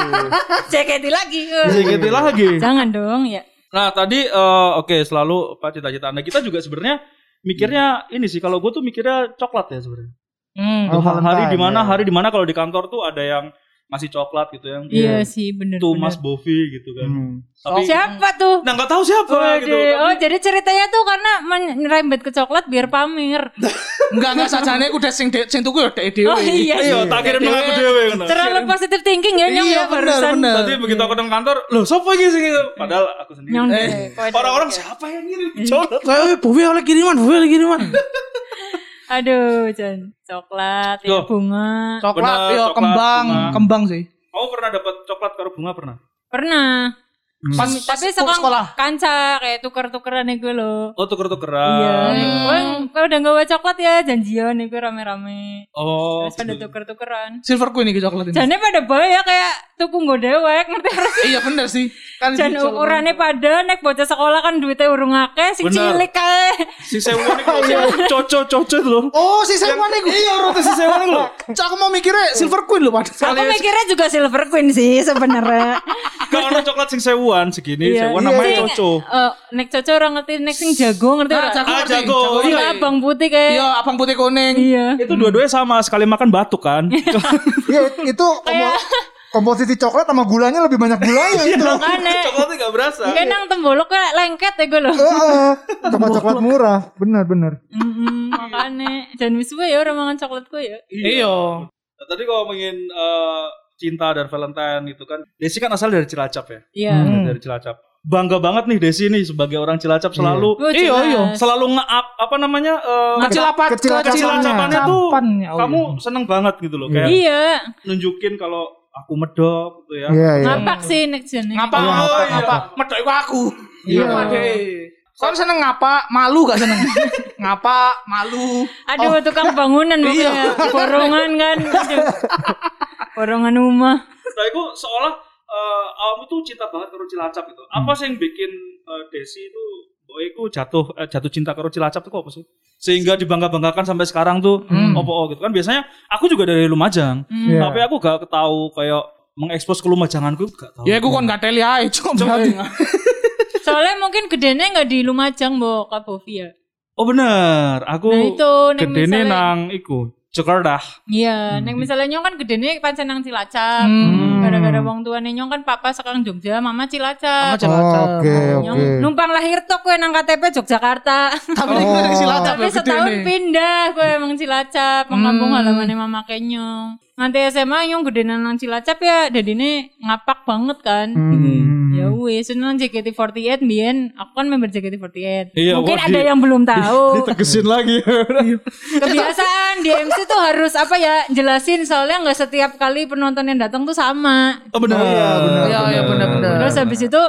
Speaker 1: JKT lagi. Eh,
Speaker 2: Sedikit lagi.
Speaker 1: Jangan dong ya.
Speaker 2: Nah, tadi eh, oke selalu apa cita-cita Anda kita juga sebenarnya mikirnya ini sih kalau gue tuh mikirnya coklat ya sebenarnya.
Speaker 3: Hmm.
Speaker 5: Hmm. Oh,
Speaker 2: hari
Speaker 5: Valentine,
Speaker 2: di mana
Speaker 5: ya.
Speaker 2: hari di mana kalau di kantor tuh ada yang masih coklat gitu yang
Speaker 1: Iya sih bener.
Speaker 2: tuh
Speaker 1: bener. Oh,
Speaker 2: Mas Bovi gitu kan.
Speaker 5: Hmm.
Speaker 2: Tapi
Speaker 1: Siapa tuh?
Speaker 2: nah nggak tahu siapa
Speaker 1: Waduh.
Speaker 2: gitu. Tapi-
Speaker 1: Oh, jadi ceritanya tuh karena menyerempet ke coklat biar pamer.
Speaker 2: Nah,
Speaker 3: Enggak enggak sajane aku Des sing de- sing tuku yo dek dhewe.
Speaker 1: Oh iya.
Speaker 2: Iya, tak kirim nang aku dhewe ngono.
Speaker 1: Terlalu positive thinking ya nyong
Speaker 3: Iya,
Speaker 1: ya
Speaker 3: bener,
Speaker 1: barusan.
Speaker 3: bener.
Speaker 2: Tadi begitu aku nang kantor, loh siapa iki sing
Speaker 1: iya.
Speaker 2: padahal aku sendiri.
Speaker 1: Nyong
Speaker 2: Eh,
Speaker 1: deh, kowe deh.
Speaker 2: Orang-orang siapa yang ngirim
Speaker 1: Iya.
Speaker 2: coklat?
Speaker 3: Kayak Bowie oleh kiriman, Bowie oleh kiriman.
Speaker 1: Hmm. Aduh, Jan. Coklat, ya,
Speaker 2: Duh.
Speaker 1: bunga.
Speaker 3: Coklat,
Speaker 2: Bener,
Speaker 3: yo
Speaker 2: coklat,
Speaker 3: kembang,
Speaker 2: bunga.
Speaker 3: kembang sih.
Speaker 2: Kamu pernah dapat coklat karo bunga pernah?
Speaker 1: Pernah.
Speaker 2: Hmm.
Speaker 3: Pas
Speaker 1: Tapi
Speaker 3: pas pulang sekolah.
Speaker 1: sekarang kanca kayak tuker-tukeran gue loh.
Speaker 2: Oh tuker-tukeran.
Speaker 1: Iya. Gue udah gawe coklat ya janjian nih gue rame-rame.
Speaker 2: Oh.
Speaker 1: Terus pada tuker-tukeran.
Speaker 3: Silver Queen iki coklat ini.
Speaker 1: Jane pada bae ya kayak tuku nggo dewek ngerti ora sih?
Speaker 3: Iya bener sih. Kan
Speaker 1: Jan
Speaker 3: coklat.
Speaker 1: ukurannya pada nek bocah sekolah kan duitnya urung akeh sing
Speaker 2: Bener.
Speaker 1: cilik kae.
Speaker 2: Si Sewon itu
Speaker 1: Iya.
Speaker 2: coco-coco itu loh.
Speaker 3: Oh, si Sewan iku. Iya, rote si Sewan iku. Cak aku mau mikirnya Silver Queen lho padahal.
Speaker 1: Aku mikirnya juga silver queen sih sebenarnya.
Speaker 2: Gak ada coklat sing Sewon segini,
Speaker 1: Iya,
Speaker 2: Sewon namanya coco.
Speaker 1: Eh, nek coco ora ngerti nek sing jago ngerti ora?
Speaker 2: Ah, jago.
Speaker 1: Iya,
Speaker 3: Iya,
Speaker 1: abang putih kayak.
Speaker 3: Iya, abang putih kuning.
Speaker 1: Iya.
Speaker 2: Itu dua-duanya sama sekali makan batuk kan.
Speaker 5: Iya it- itu kompo- komposisi coklat sama gulanya lebih banyak gulanya itu.
Speaker 1: Aneh.
Speaker 2: Coklatnya gak berasa.
Speaker 1: Kan nang tembolok kayak lengket ya gue loh.
Speaker 5: Heeh. Coklat coklat murah, bener bener.
Speaker 1: Mm-mm, Makanya Jan wis suwe ya ora mangan coklat gue ya.
Speaker 3: Iya.
Speaker 2: Nah, tadi kalau ngomongin eh, cinta dan Valentine gitu kan. Desi kan asal dari Cilacap ya.
Speaker 1: Iya.
Speaker 2: Dari Cilacap. Bangga banget nih Desi nih sebagai orang Cilacap selalu
Speaker 1: Oh,
Speaker 3: Iya,
Speaker 1: jelas.
Speaker 3: iya.
Speaker 2: selalu nge-up apa namanya? eh,
Speaker 3: Kecil apa?
Speaker 5: Kecil
Speaker 3: Kecil
Speaker 2: Cilacapannya
Speaker 3: apa?
Speaker 2: tuh
Speaker 1: ya
Speaker 3: Capannya, oh,
Speaker 2: kamu
Speaker 3: iya.
Speaker 2: seneng banget gitu loh kayak
Speaker 1: Iya.
Speaker 2: nunjukin kalau aku medok gitu ya.
Speaker 5: Iya iya.
Speaker 1: Ngapak sih nek jane.
Speaker 3: ngapa
Speaker 2: Oh,
Speaker 3: ngapa
Speaker 2: iya.
Speaker 3: ngapa medok iku aku iya Soalnya seneng ngapa malu gak seneng ngapa malu
Speaker 1: Aduh tukang bangunan
Speaker 3: Iya.
Speaker 1: makanya borongan kan. Aduh. Borongan rumah.
Speaker 2: Nah, itu seolah eh, kamu tuh cinta banget karo Cilacap gitu. Apa
Speaker 3: Hmm.
Speaker 2: sih yang bikin eh, Desi itu Boy, ku jatuh eh, jatuh cinta karo Cilacap itu apa sih? Sehingga dibangga-banggakan sampai sekarang tuh
Speaker 3: Hmm.
Speaker 2: opo gitu kan. Biasanya aku juga dari Lumajang,
Speaker 1: Hmm.
Speaker 5: Iya.
Speaker 2: tapi aku gak tahu kayak mengekspos ke Lumajanganku gak tahu.
Speaker 3: ya aku kan gak teli aja cuma
Speaker 1: Soalnya mungkin gedenya nggak di Lumajang, Mbok, Kak Bovi ya.
Speaker 2: Oh bener, aku
Speaker 1: Nah, itu, neng
Speaker 2: gedene
Speaker 1: misalnya-
Speaker 2: nang iku Jakarta.
Speaker 1: Iya, nek misalnya nyong kan gedenya pancen nang Cilacap. Gara-gara wong tuane nyong kan papa sekarang Jogja, mama Cilacap.
Speaker 5: Oke
Speaker 1: Nyong
Speaker 5: oke.
Speaker 1: numpang lahir tok kowe nang KTP Yogyakarta.
Speaker 3: tapi ini kita dari Cilacap
Speaker 1: Tapi
Speaker 3: ya, gede
Speaker 1: setahun
Speaker 3: nih. Hmm.
Speaker 1: pindah gue emang Cilacap, emang kampung halamannya mama kenyong. Nanti SMA nyong gedenan nang Cilacap ya, dadine ngapak banget kan.
Speaker 5: Hmm.
Speaker 1: Ya Ya wis, seneng JKT48 mbiyen aku kan member JKT48.
Speaker 2: Iya,
Speaker 1: Mungkin
Speaker 2: wah,
Speaker 1: ada
Speaker 2: di-
Speaker 1: yang belum tahu.
Speaker 5: Ditegesin lagi.
Speaker 3: Iya.
Speaker 1: Kebiasaan di MC tuh harus apa ya? Jelasin soalnya nggak setiap kali penonton yang datang tuh sama.
Speaker 2: Oh benar.
Speaker 5: Oh, iya, benar,
Speaker 3: Iya, iya, benar, benar.
Speaker 1: Terus habis itu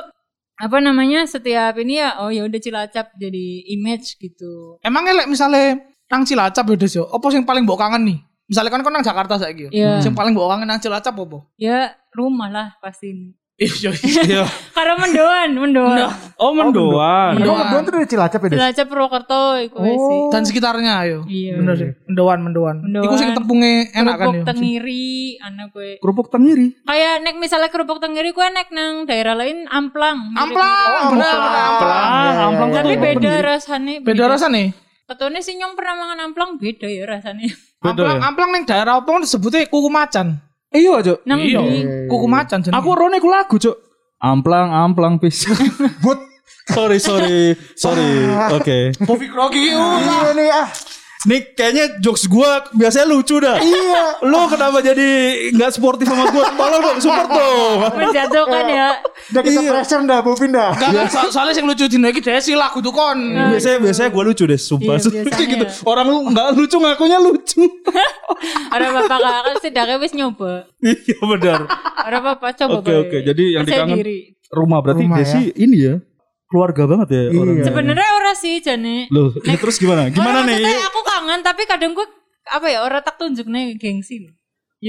Speaker 1: apa namanya? Setiap ini ya oh ya udah Cilacap jadi image gitu.
Speaker 3: Emangnya lek misalnya nang Cilacap ya Des yo, apa sing paling mbok kangen nih? Misalnya kan kon nang Jakarta saiki yo.
Speaker 1: Iya.
Speaker 3: Sing paling mbok kangen nang Cilacap opo?
Speaker 1: Ya rumah lah pasti ini.
Speaker 3: Iya,
Speaker 2: Iya.
Speaker 1: Karena mendoan, mendoan.
Speaker 3: Nah,
Speaker 2: Oh mendoan.
Speaker 5: Mendoan mendoan tuh dari Cilacap ya, Des?
Speaker 1: Cilacap Purwokerto iku wis sih.
Speaker 3: dan sekitarnya ayo.
Speaker 1: Iya.
Speaker 3: Oh, Bener sih. Mendoan, mendoan.
Speaker 1: Mendoan.
Speaker 3: Iku sing tepungnya enak kan
Speaker 1: Kerupuk
Speaker 3: yo.
Speaker 1: tengiri, anak gue.
Speaker 5: Kerupuk tengiri.
Speaker 1: Kayak nek misalnya kerupuk tengiri gue nek nang daerah lain amplang.
Speaker 3: Amplang,
Speaker 5: Oh,
Speaker 3: bener.
Speaker 5: amplang.
Speaker 2: Amplang,
Speaker 5: Iya,
Speaker 2: amplang
Speaker 5: iya,
Speaker 1: Tapi
Speaker 5: iya.
Speaker 1: beda rasanya.
Speaker 3: Beda rasa nih.
Speaker 1: Ketuanya sih nyong pernah mangan amplang beda ya rasanya.
Speaker 2: Beda
Speaker 3: Amplang,
Speaker 2: ya?
Speaker 3: amplang neng daerah opo disebutnya kuku macan.
Speaker 4: Iya, Cuk.
Speaker 1: Nang
Speaker 2: Iya.
Speaker 1: di
Speaker 3: Kuku macan jenenge.
Speaker 4: Aku rone ku lagu, Cuk. Amplang, amplang pisang.
Speaker 5: But
Speaker 4: sorry, sorry. Sorry. Oke.
Speaker 3: Povi Krogi.
Speaker 5: iya nih ah.
Speaker 4: Nih kayaknya jokes gua biasanya lucu dah.
Speaker 5: Iya.
Speaker 4: Lu kenapa jadi nggak sportif sama gua? Tolong dong support dong.
Speaker 1: menjatuhkan ya.
Speaker 5: Udah kita pressure dah, Bu Pindah.
Speaker 3: Gak kan so- soalnya sing lucu dino iki Desi lagu tuh kon.
Speaker 4: Iya, Biasanya biasanya gua lucu deh, sumpah.
Speaker 1: Iya, biasanya.
Speaker 4: gitu. Orang lu nggak lucu ngakunya lucu.
Speaker 1: Orang bapak kakak setidaknya wis nyoba.
Speaker 4: iya benar.
Speaker 1: Orang bapak coba.
Speaker 2: Oke,
Speaker 1: bae.
Speaker 2: oke. Jadi yang
Speaker 1: Percaya
Speaker 2: dikangen-
Speaker 1: diri.
Speaker 4: Rumah berarti
Speaker 5: Rumah,
Speaker 4: Desi ini ya. Keluarga banget ya
Speaker 5: Iya.
Speaker 4: orangnya.
Speaker 1: Sebenarnya ora sih Jane.
Speaker 4: Loh, ini terus
Speaker 2: Nah,
Speaker 4: gimana? Gimana
Speaker 1: Orang
Speaker 4: nih?
Speaker 1: maksudnya aku kangen tapi kadang gue apa ya orang tak tunjuknya gengsi.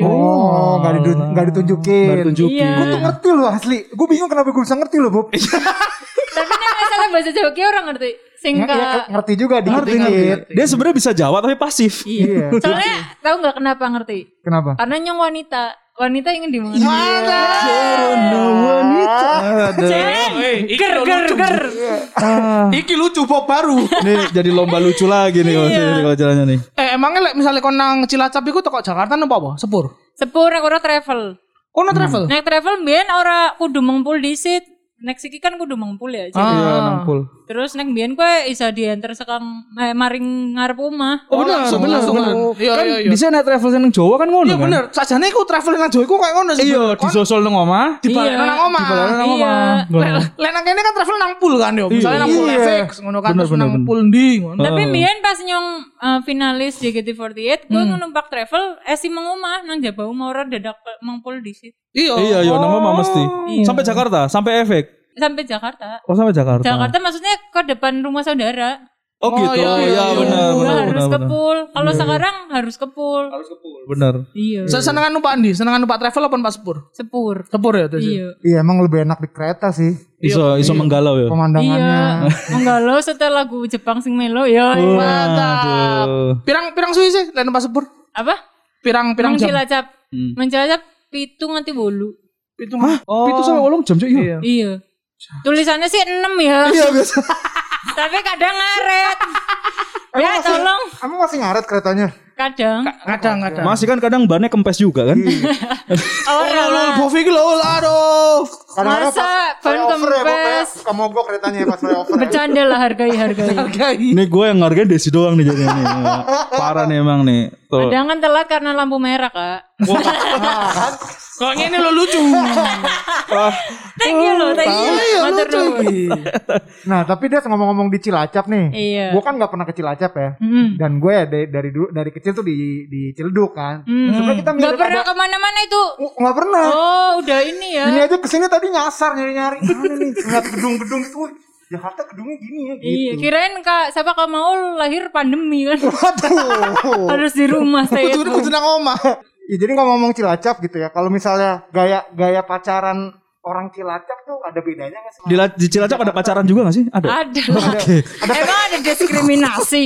Speaker 5: Oh, nggak didu- nggak ditunjukin.
Speaker 4: Nggak ditunjukin.
Speaker 1: Iya.
Speaker 5: Gue tuh ngerti loh asli. Gue bingung kenapa gue bisa ngerti loh, Bob.
Speaker 1: tapi nek misalnya bahasa Jawa ki orang ngerti. Sing
Speaker 5: Ya, ya,
Speaker 1: ka-
Speaker 5: ngerti juga dikit-dikit.
Speaker 4: Dia sebenarnya bisa Jawa tapi pasif.
Speaker 5: Iya.
Speaker 1: Soalnya tahu nggak kenapa ngerti?
Speaker 5: Kenapa?
Speaker 1: Karena nyong wanita. Wanita ingin
Speaker 5: Iya.
Speaker 1: dimengerti.
Speaker 3: Ger ger ger. Iki lucu Bob baru.
Speaker 4: Ah. Ini jadi lomba lucu lagi nih kalau- kalau jalannya nih.
Speaker 3: Eh emangnya lek misalnya kon nang Cilacap iku teko Jakarta nopo apa? Sepur.
Speaker 1: Sepur nek ora travel.
Speaker 3: Kono
Speaker 4: Hmm.
Speaker 3: travel.
Speaker 1: Nek travel mbiyen ora kudu mengpul disit. Nek siki kan kudu mengpul ya.
Speaker 5: Ah.
Speaker 1: Jadi,
Speaker 4: Iya, nampul.
Speaker 1: Terus nek mbiyen kowe bisa diantar sekang eh, maring ngarep omah.
Speaker 4: Oh, bener,
Speaker 3: langsung,
Speaker 4: bener,
Speaker 3: langsungan.
Speaker 4: bener.
Speaker 3: Iya,
Speaker 4: kan
Speaker 3: iya, iya.
Speaker 4: bisa naik travel nang Jawa kan ngono
Speaker 3: Iya
Speaker 4: kan?
Speaker 3: bener. Sajane iku traveling nang Jawa iku kayak ngono sih.
Speaker 4: Iya,
Speaker 3: Kon
Speaker 4: disosol nang omah.
Speaker 3: dibalekno nang omah.
Speaker 4: nang
Speaker 1: Iya.
Speaker 4: omah. Ngono.
Speaker 3: Lek nang kene kan travel nang pool kan yo. Misalnya nang pool
Speaker 5: Iya.
Speaker 3: FX ngono kan
Speaker 4: Bener,
Speaker 3: terus
Speaker 4: bener,
Speaker 3: nang
Speaker 4: bener.
Speaker 3: pool ndi ngono.
Speaker 1: Tapi mbiyen pas nyong eh, finalis JKT48, gue
Speaker 5: Hmm.
Speaker 1: numpak travel eh si mengomah nang Jabau mau ora dadak mengpul disit
Speaker 3: Iya.
Speaker 4: Iya, iya, nang omah mesti. Sampai Jakarta, sampai efek.
Speaker 1: sampai Jakarta.
Speaker 4: Oh, sampai Jakarta.
Speaker 1: Jakarta maksudnya ke depan rumah saudara.
Speaker 4: Oh, gitu.
Speaker 3: iya,
Speaker 4: Oh,
Speaker 3: iya,
Speaker 4: iya,
Speaker 3: iya.
Speaker 4: benar,
Speaker 1: Dulu
Speaker 4: benar,
Speaker 1: harus
Speaker 4: benar, Iya,
Speaker 1: ke
Speaker 4: bener.
Speaker 1: pool. Kalau sekarang harus ke pool.
Speaker 4: Benar.
Speaker 1: Iya.
Speaker 3: Se- Senengan numpak ndi? Senengan numpak travel apa numpak sepur?
Speaker 1: Sepur.
Speaker 3: Sepur ya terus.
Speaker 1: Iya.
Speaker 5: Iya, emang lebih enak di kereta sih
Speaker 4: Iso iso menggalau
Speaker 1: Iya.
Speaker 4: ya.
Speaker 5: pemandangannya.
Speaker 1: Enggak lo setel lagu Jepang sing melo ya.
Speaker 4: Oh.
Speaker 3: Mantap. Pirang-pirang suwi sih lek numpak sepur?
Speaker 1: Apa?
Speaker 3: Pirang-pirang
Speaker 1: Nang
Speaker 3: jam.
Speaker 1: Cilacap.
Speaker 4: Hmm.
Speaker 1: Nang Cilacap pitu nganti bolu.
Speaker 3: Pitung. Oh.
Speaker 4: Itu sampai wolong jam, Cuk. Iya.
Speaker 1: Iya. Tulisannya sih 6 ya.
Speaker 4: Iya, biasa.
Speaker 1: Tapi kadang ngaret. ya
Speaker 5: Emang masih-
Speaker 1: tolong.
Speaker 5: Emang masih ngaret keretanya?
Speaker 1: Kadang.
Speaker 3: Kadang-kadang.
Speaker 4: Masih kan kadang bannya kempes juga kan? iya,
Speaker 3: Oh, lol, Bovi iki lol, aduh.
Speaker 5: Kadang-kadang
Speaker 1: Masa
Speaker 5: pas
Speaker 1: ban
Speaker 5: flyover ya, Bob, ya.
Speaker 1: kempes.
Speaker 5: Kemogok keretanya ya, pas flyover. ya.
Speaker 1: Bercanda lah hargai hargai.
Speaker 3: Hargai.
Speaker 4: Ini gue yang ngargain Desi doang nih jadinya nih. Parah nih emang nih. Tuh.
Speaker 1: Kadang kan telat karena lampu merah kak.
Speaker 3: Kok ngene lo lucu.
Speaker 1: Thank you loh, thank you.
Speaker 4: iya,
Speaker 1: Matur nuwun.
Speaker 5: Nah, tapi dia ngomong-ngomong di Cilacap nih.
Speaker 1: Iya.
Speaker 5: Gue kan nggak pernah ke Cilacap ya.
Speaker 1: Mm.
Speaker 5: Dan gue ya dari, dari dulu dari kecil tuh di di Ciledug kan.
Speaker 1: Hmm.
Speaker 5: Sebenarnya kita
Speaker 1: Gak
Speaker 5: mirip
Speaker 1: pernah
Speaker 5: ada-
Speaker 1: kemana-mana itu.
Speaker 5: Oh, nggak pernah.
Speaker 1: Oh, udah ini ya.
Speaker 5: Ini aja kesini tadi nyasar nyari-nyari. Mana nih? Ngeliat gedung-gedung itu. Wah, Jakarta gedungnya gini ya gitu.
Speaker 1: Iya, kirain kak siapa kak mau lahir pandemi kan
Speaker 5: Waduh.
Speaker 1: harus di rumah stay at
Speaker 3: Kudu
Speaker 1: home.
Speaker 3: kudu nang omah.
Speaker 5: Ya, jadi ngomong-ngomong Cilacap gitu ya. Kalau misalnya gaya gaya pacaran orang Cilacap tuh ada bedanya nggak sama?
Speaker 4: Di, La- di Cilacap ada pacaran juga gak sih? Ada.
Speaker 1: Ada lah. Emang ada diskriminasi.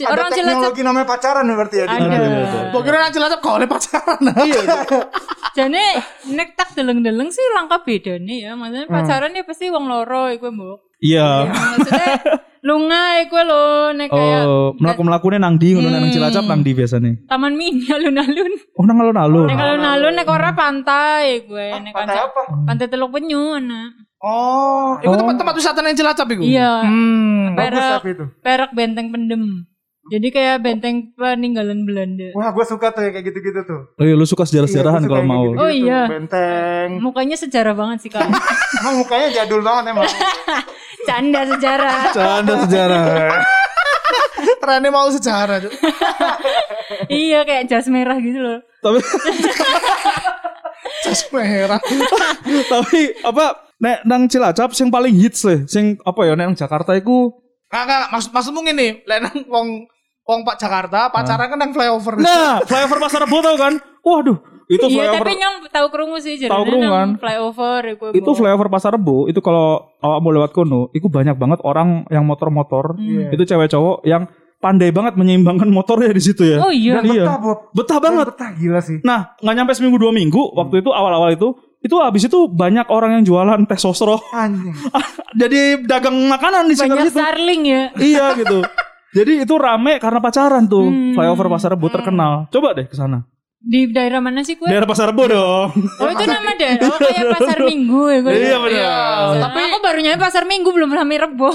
Speaker 1: C-
Speaker 5: ada
Speaker 1: Orang Cilacap
Speaker 5: teknologi namanya pacaran ya berarti ya. di-
Speaker 1: ada. Iya, kan,
Speaker 3: Mbok kira nang Cilacap kok oleh pacaran.
Speaker 1: Jadi nek tak deleng-deleng sih langkah beda nih ya. Maksudnya pacaran ya pasti wong loro iku mbok. Ya,
Speaker 4: Iya.
Speaker 1: Ah. Maksudnya lunga iku lo nek kayak
Speaker 4: Oh, melaku-melakunya nang di, ngono nang Cilacap nang di biasanya.
Speaker 1: taman mini alun-alun.
Speaker 4: Oh, nang alun-alun.
Speaker 1: Nek alun-alun nek ora pantai gue nek
Speaker 5: Pantai
Speaker 1: kanca-
Speaker 5: apa?
Speaker 1: Pantai Teluk Penyu ana.
Speaker 2: Hmm.
Speaker 5: Oh,
Speaker 3: Oh.
Speaker 5: hmm.
Speaker 3: Iku tempat tempat wisata nang Cilacap iku.
Speaker 1: Iya.
Speaker 5: bagus
Speaker 1: Perak,
Speaker 5: tapi itu.
Speaker 1: perak benteng pendem. Jadi kayak benteng peninggalan Belanda.
Speaker 5: Wah, gue suka tuh yang kayak gitu-gitu tuh.
Speaker 2: Oh iya, lu suka sejarah-sejarahan
Speaker 5: Iya, gua
Speaker 2: kalau
Speaker 5: suka yang
Speaker 2: mau.
Speaker 5: gitu-gitu.
Speaker 1: Oh iya.
Speaker 5: Benteng.
Speaker 2: Hmm.
Speaker 1: Mukanya sejarah banget sih kamu.
Speaker 5: Emang mukanya jadul banget emang.
Speaker 1: Canda sejarah.
Speaker 2: Canda sejarah.
Speaker 3: Trennya mau sejarah. Cuk.
Speaker 1: iya kayak jas merah gitu loh.
Speaker 2: tapi
Speaker 3: Jas merah.
Speaker 2: tapi apa nek nang Cilacap sing paling hits le, sing apa ya nek nang Jakarta iku
Speaker 3: Enggak, enggak, maksud maksudmu ngene, lek nang wong wong Pak Jakarta pacaran kan nang flyover.
Speaker 2: nah, flyover Pasar Rebo tau kan? Waduh, itu
Speaker 1: Iya
Speaker 2: flyover
Speaker 1: tapi nyong tahu kerungu sih jadi
Speaker 2: Tahu krungu kan.
Speaker 1: flyover ya, iku.
Speaker 2: itu flyover Pasar Rebo itu kalau awak mau lewat kono, itu banyak banget orang yang motor-motor,
Speaker 1: Hmm.
Speaker 2: itu cewek cowok yang pandai banget menyeimbangkan motornya di situ ya.
Speaker 1: Oh iya.
Speaker 5: Dan
Speaker 2: Iya.
Speaker 5: betah, Bob.
Speaker 2: Betah
Speaker 5: Dan
Speaker 2: banget.
Speaker 5: Betah gila sih.
Speaker 2: Nah, nggak nyampe seminggu dua minggu waktu itu awal-awal itu, itu habis itu banyak orang yang jualan teh sosro.
Speaker 5: Anjing.
Speaker 2: Jadi dagang makanan di sekitar
Speaker 1: Banyak
Speaker 2: situ.
Speaker 1: starling ya.
Speaker 2: iya gitu. Jadi itu rame karena pacaran tuh.
Speaker 1: Hmm.
Speaker 2: Flyover Pasar Rebo terkenal. Coba deh ke sana.
Speaker 1: Di daerah mana sih kue?
Speaker 2: Daerah Pasar Rebo dong.
Speaker 1: Oh itu nama daerah oh, kayak pasar minggu ya gue.
Speaker 2: Iya, benar.
Speaker 1: Tapi aku baru nyampe pasar minggu belum sampai rebo.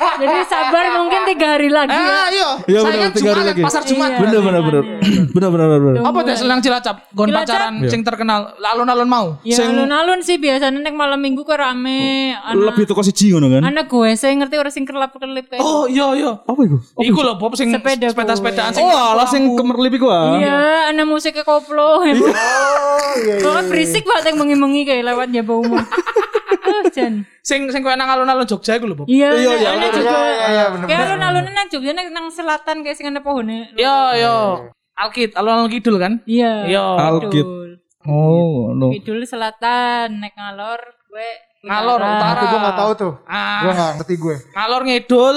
Speaker 1: Jadi sabar mungkin tiga hari lagi. ya.
Speaker 3: Ah, iya.
Speaker 2: Iya,
Speaker 3: Saya
Speaker 2: bener,
Speaker 3: kan
Speaker 2: tiga hari
Speaker 3: Jumat,
Speaker 2: lagi.
Speaker 3: pasar Jumat.
Speaker 1: Iya.
Speaker 2: bener bener bener. bener bener bener.
Speaker 1: Tuh.
Speaker 3: Apa teh selang Cilacap? Gon
Speaker 1: Cilacap?
Speaker 3: pacaran
Speaker 2: Iya.
Speaker 3: sing terkenal, alun-alun mau.
Speaker 1: Ya alun-alun sih biasanya nek malam minggu kok rame.
Speaker 5: Oh,
Speaker 1: Anak,
Speaker 2: Lebih toko siji ngono kan.
Speaker 1: anak gue saya ngerti orang sing kelap-kelip kayak.
Speaker 3: Oh, iya iya.
Speaker 2: Apa itu?
Speaker 3: Iku lho Bob sing
Speaker 1: Sepeda
Speaker 3: sepeda-sepedaan
Speaker 2: Oh,
Speaker 3: sing
Speaker 2: alah sing kemerlip iku ah.
Speaker 1: Iya, anak musiknya koplo.
Speaker 5: Oh iya. iya.
Speaker 1: Pokoknya berisik banget yang mengi-mengi kayak lewat Jaba Umum. Oh, Jan.
Speaker 3: sing sing koyo nang alun-alun Jogja iku lho Bob.
Speaker 1: Iya, iya, iya,
Speaker 5: Iya,
Speaker 1: juga.
Speaker 5: iya, iya, bener.
Speaker 1: Kayak alun-alun nang Jogja nang nang selatan kayak sing ana pohone.
Speaker 3: Iya, iya. Alkit, alun-alun kidul kan?
Speaker 1: Iya.
Speaker 3: Iya.
Speaker 2: Alkit.
Speaker 5: gitu.
Speaker 1: Kidul.
Speaker 2: Oh, no.
Speaker 1: Kidul selatan, nek ngalor gue
Speaker 3: Ngalor utara.
Speaker 5: Tapi gue gak tahu tuh.
Speaker 3: Ah,
Speaker 2: Iya.
Speaker 5: Gue gak ngerti gue.
Speaker 3: ngalor ngidul,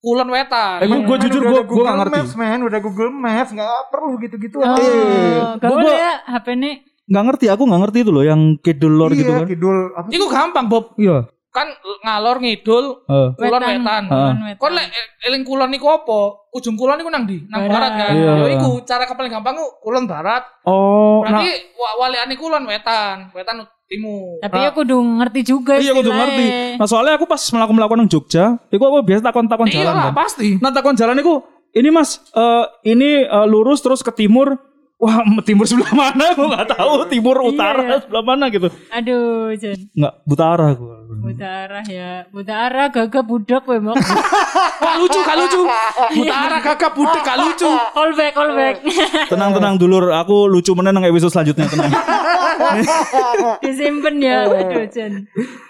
Speaker 3: kulon wetan.
Speaker 2: Emang gue
Speaker 5: Kan
Speaker 2: jujur gue
Speaker 5: udah ada
Speaker 2: gue gak
Speaker 5: Google
Speaker 2: ngerti.
Speaker 5: Maps, men. Udah Google Maps. Gak perlu Iya, gitu-gitu.
Speaker 1: Oh, gak
Speaker 2: Gua-
Speaker 1: boleh ya HP ini.
Speaker 2: Gak ngerti, aku gak ngerti itu loh yang kidul lor gitu kan.
Speaker 5: Kidul. Apa?
Speaker 3: Iku gampang Bob.
Speaker 2: Iya.
Speaker 3: Kan ngalor ngidul,
Speaker 2: Eh,
Speaker 3: kulon wetan.
Speaker 1: Kulon
Speaker 5: Ah.
Speaker 3: Kon lek eh, eling kulon niku apa? Ujung kulon niku nang ndi? Nang barat, kan.
Speaker 2: Iya.
Speaker 3: Yo iku cara paling gampang ku kulon barat.
Speaker 2: Oh, nah,
Speaker 3: Berarti wa walikane kulon wetan, wetan timur.
Speaker 1: Tapi ya aku udah ngerti juga
Speaker 2: iya aku udah ngerti.
Speaker 1: istilahnya.
Speaker 2: Nah, soalnya aku pas melakukan melakukan nang Jogja, itu aku biasa takon-takon
Speaker 3: Iya
Speaker 2: jalan
Speaker 3: lah
Speaker 2: kan.
Speaker 3: pasti.
Speaker 2: Nah takon jalan iku ini mas eh, ini eh, lurus terus ke timur wah timur sebelah mana gue nggak tahu timur utara sebelah mana gitu
Speaker 1: Aduh, Jan.
Speaker 2: nggak buta arah gue
Speaker 1: Buta arah ya. Buta arah gagah budak we mok.
Speaker 3: Gak lucu, gak lucu. Utara kakak budek gak lucu.
Speaker 1: Call back, call back.
Speaker 2: tenang tenang dulur aku lucu menen nang episode selanjutnya tenang
Speaker 1: Disimpen ya. Aduh, Jan.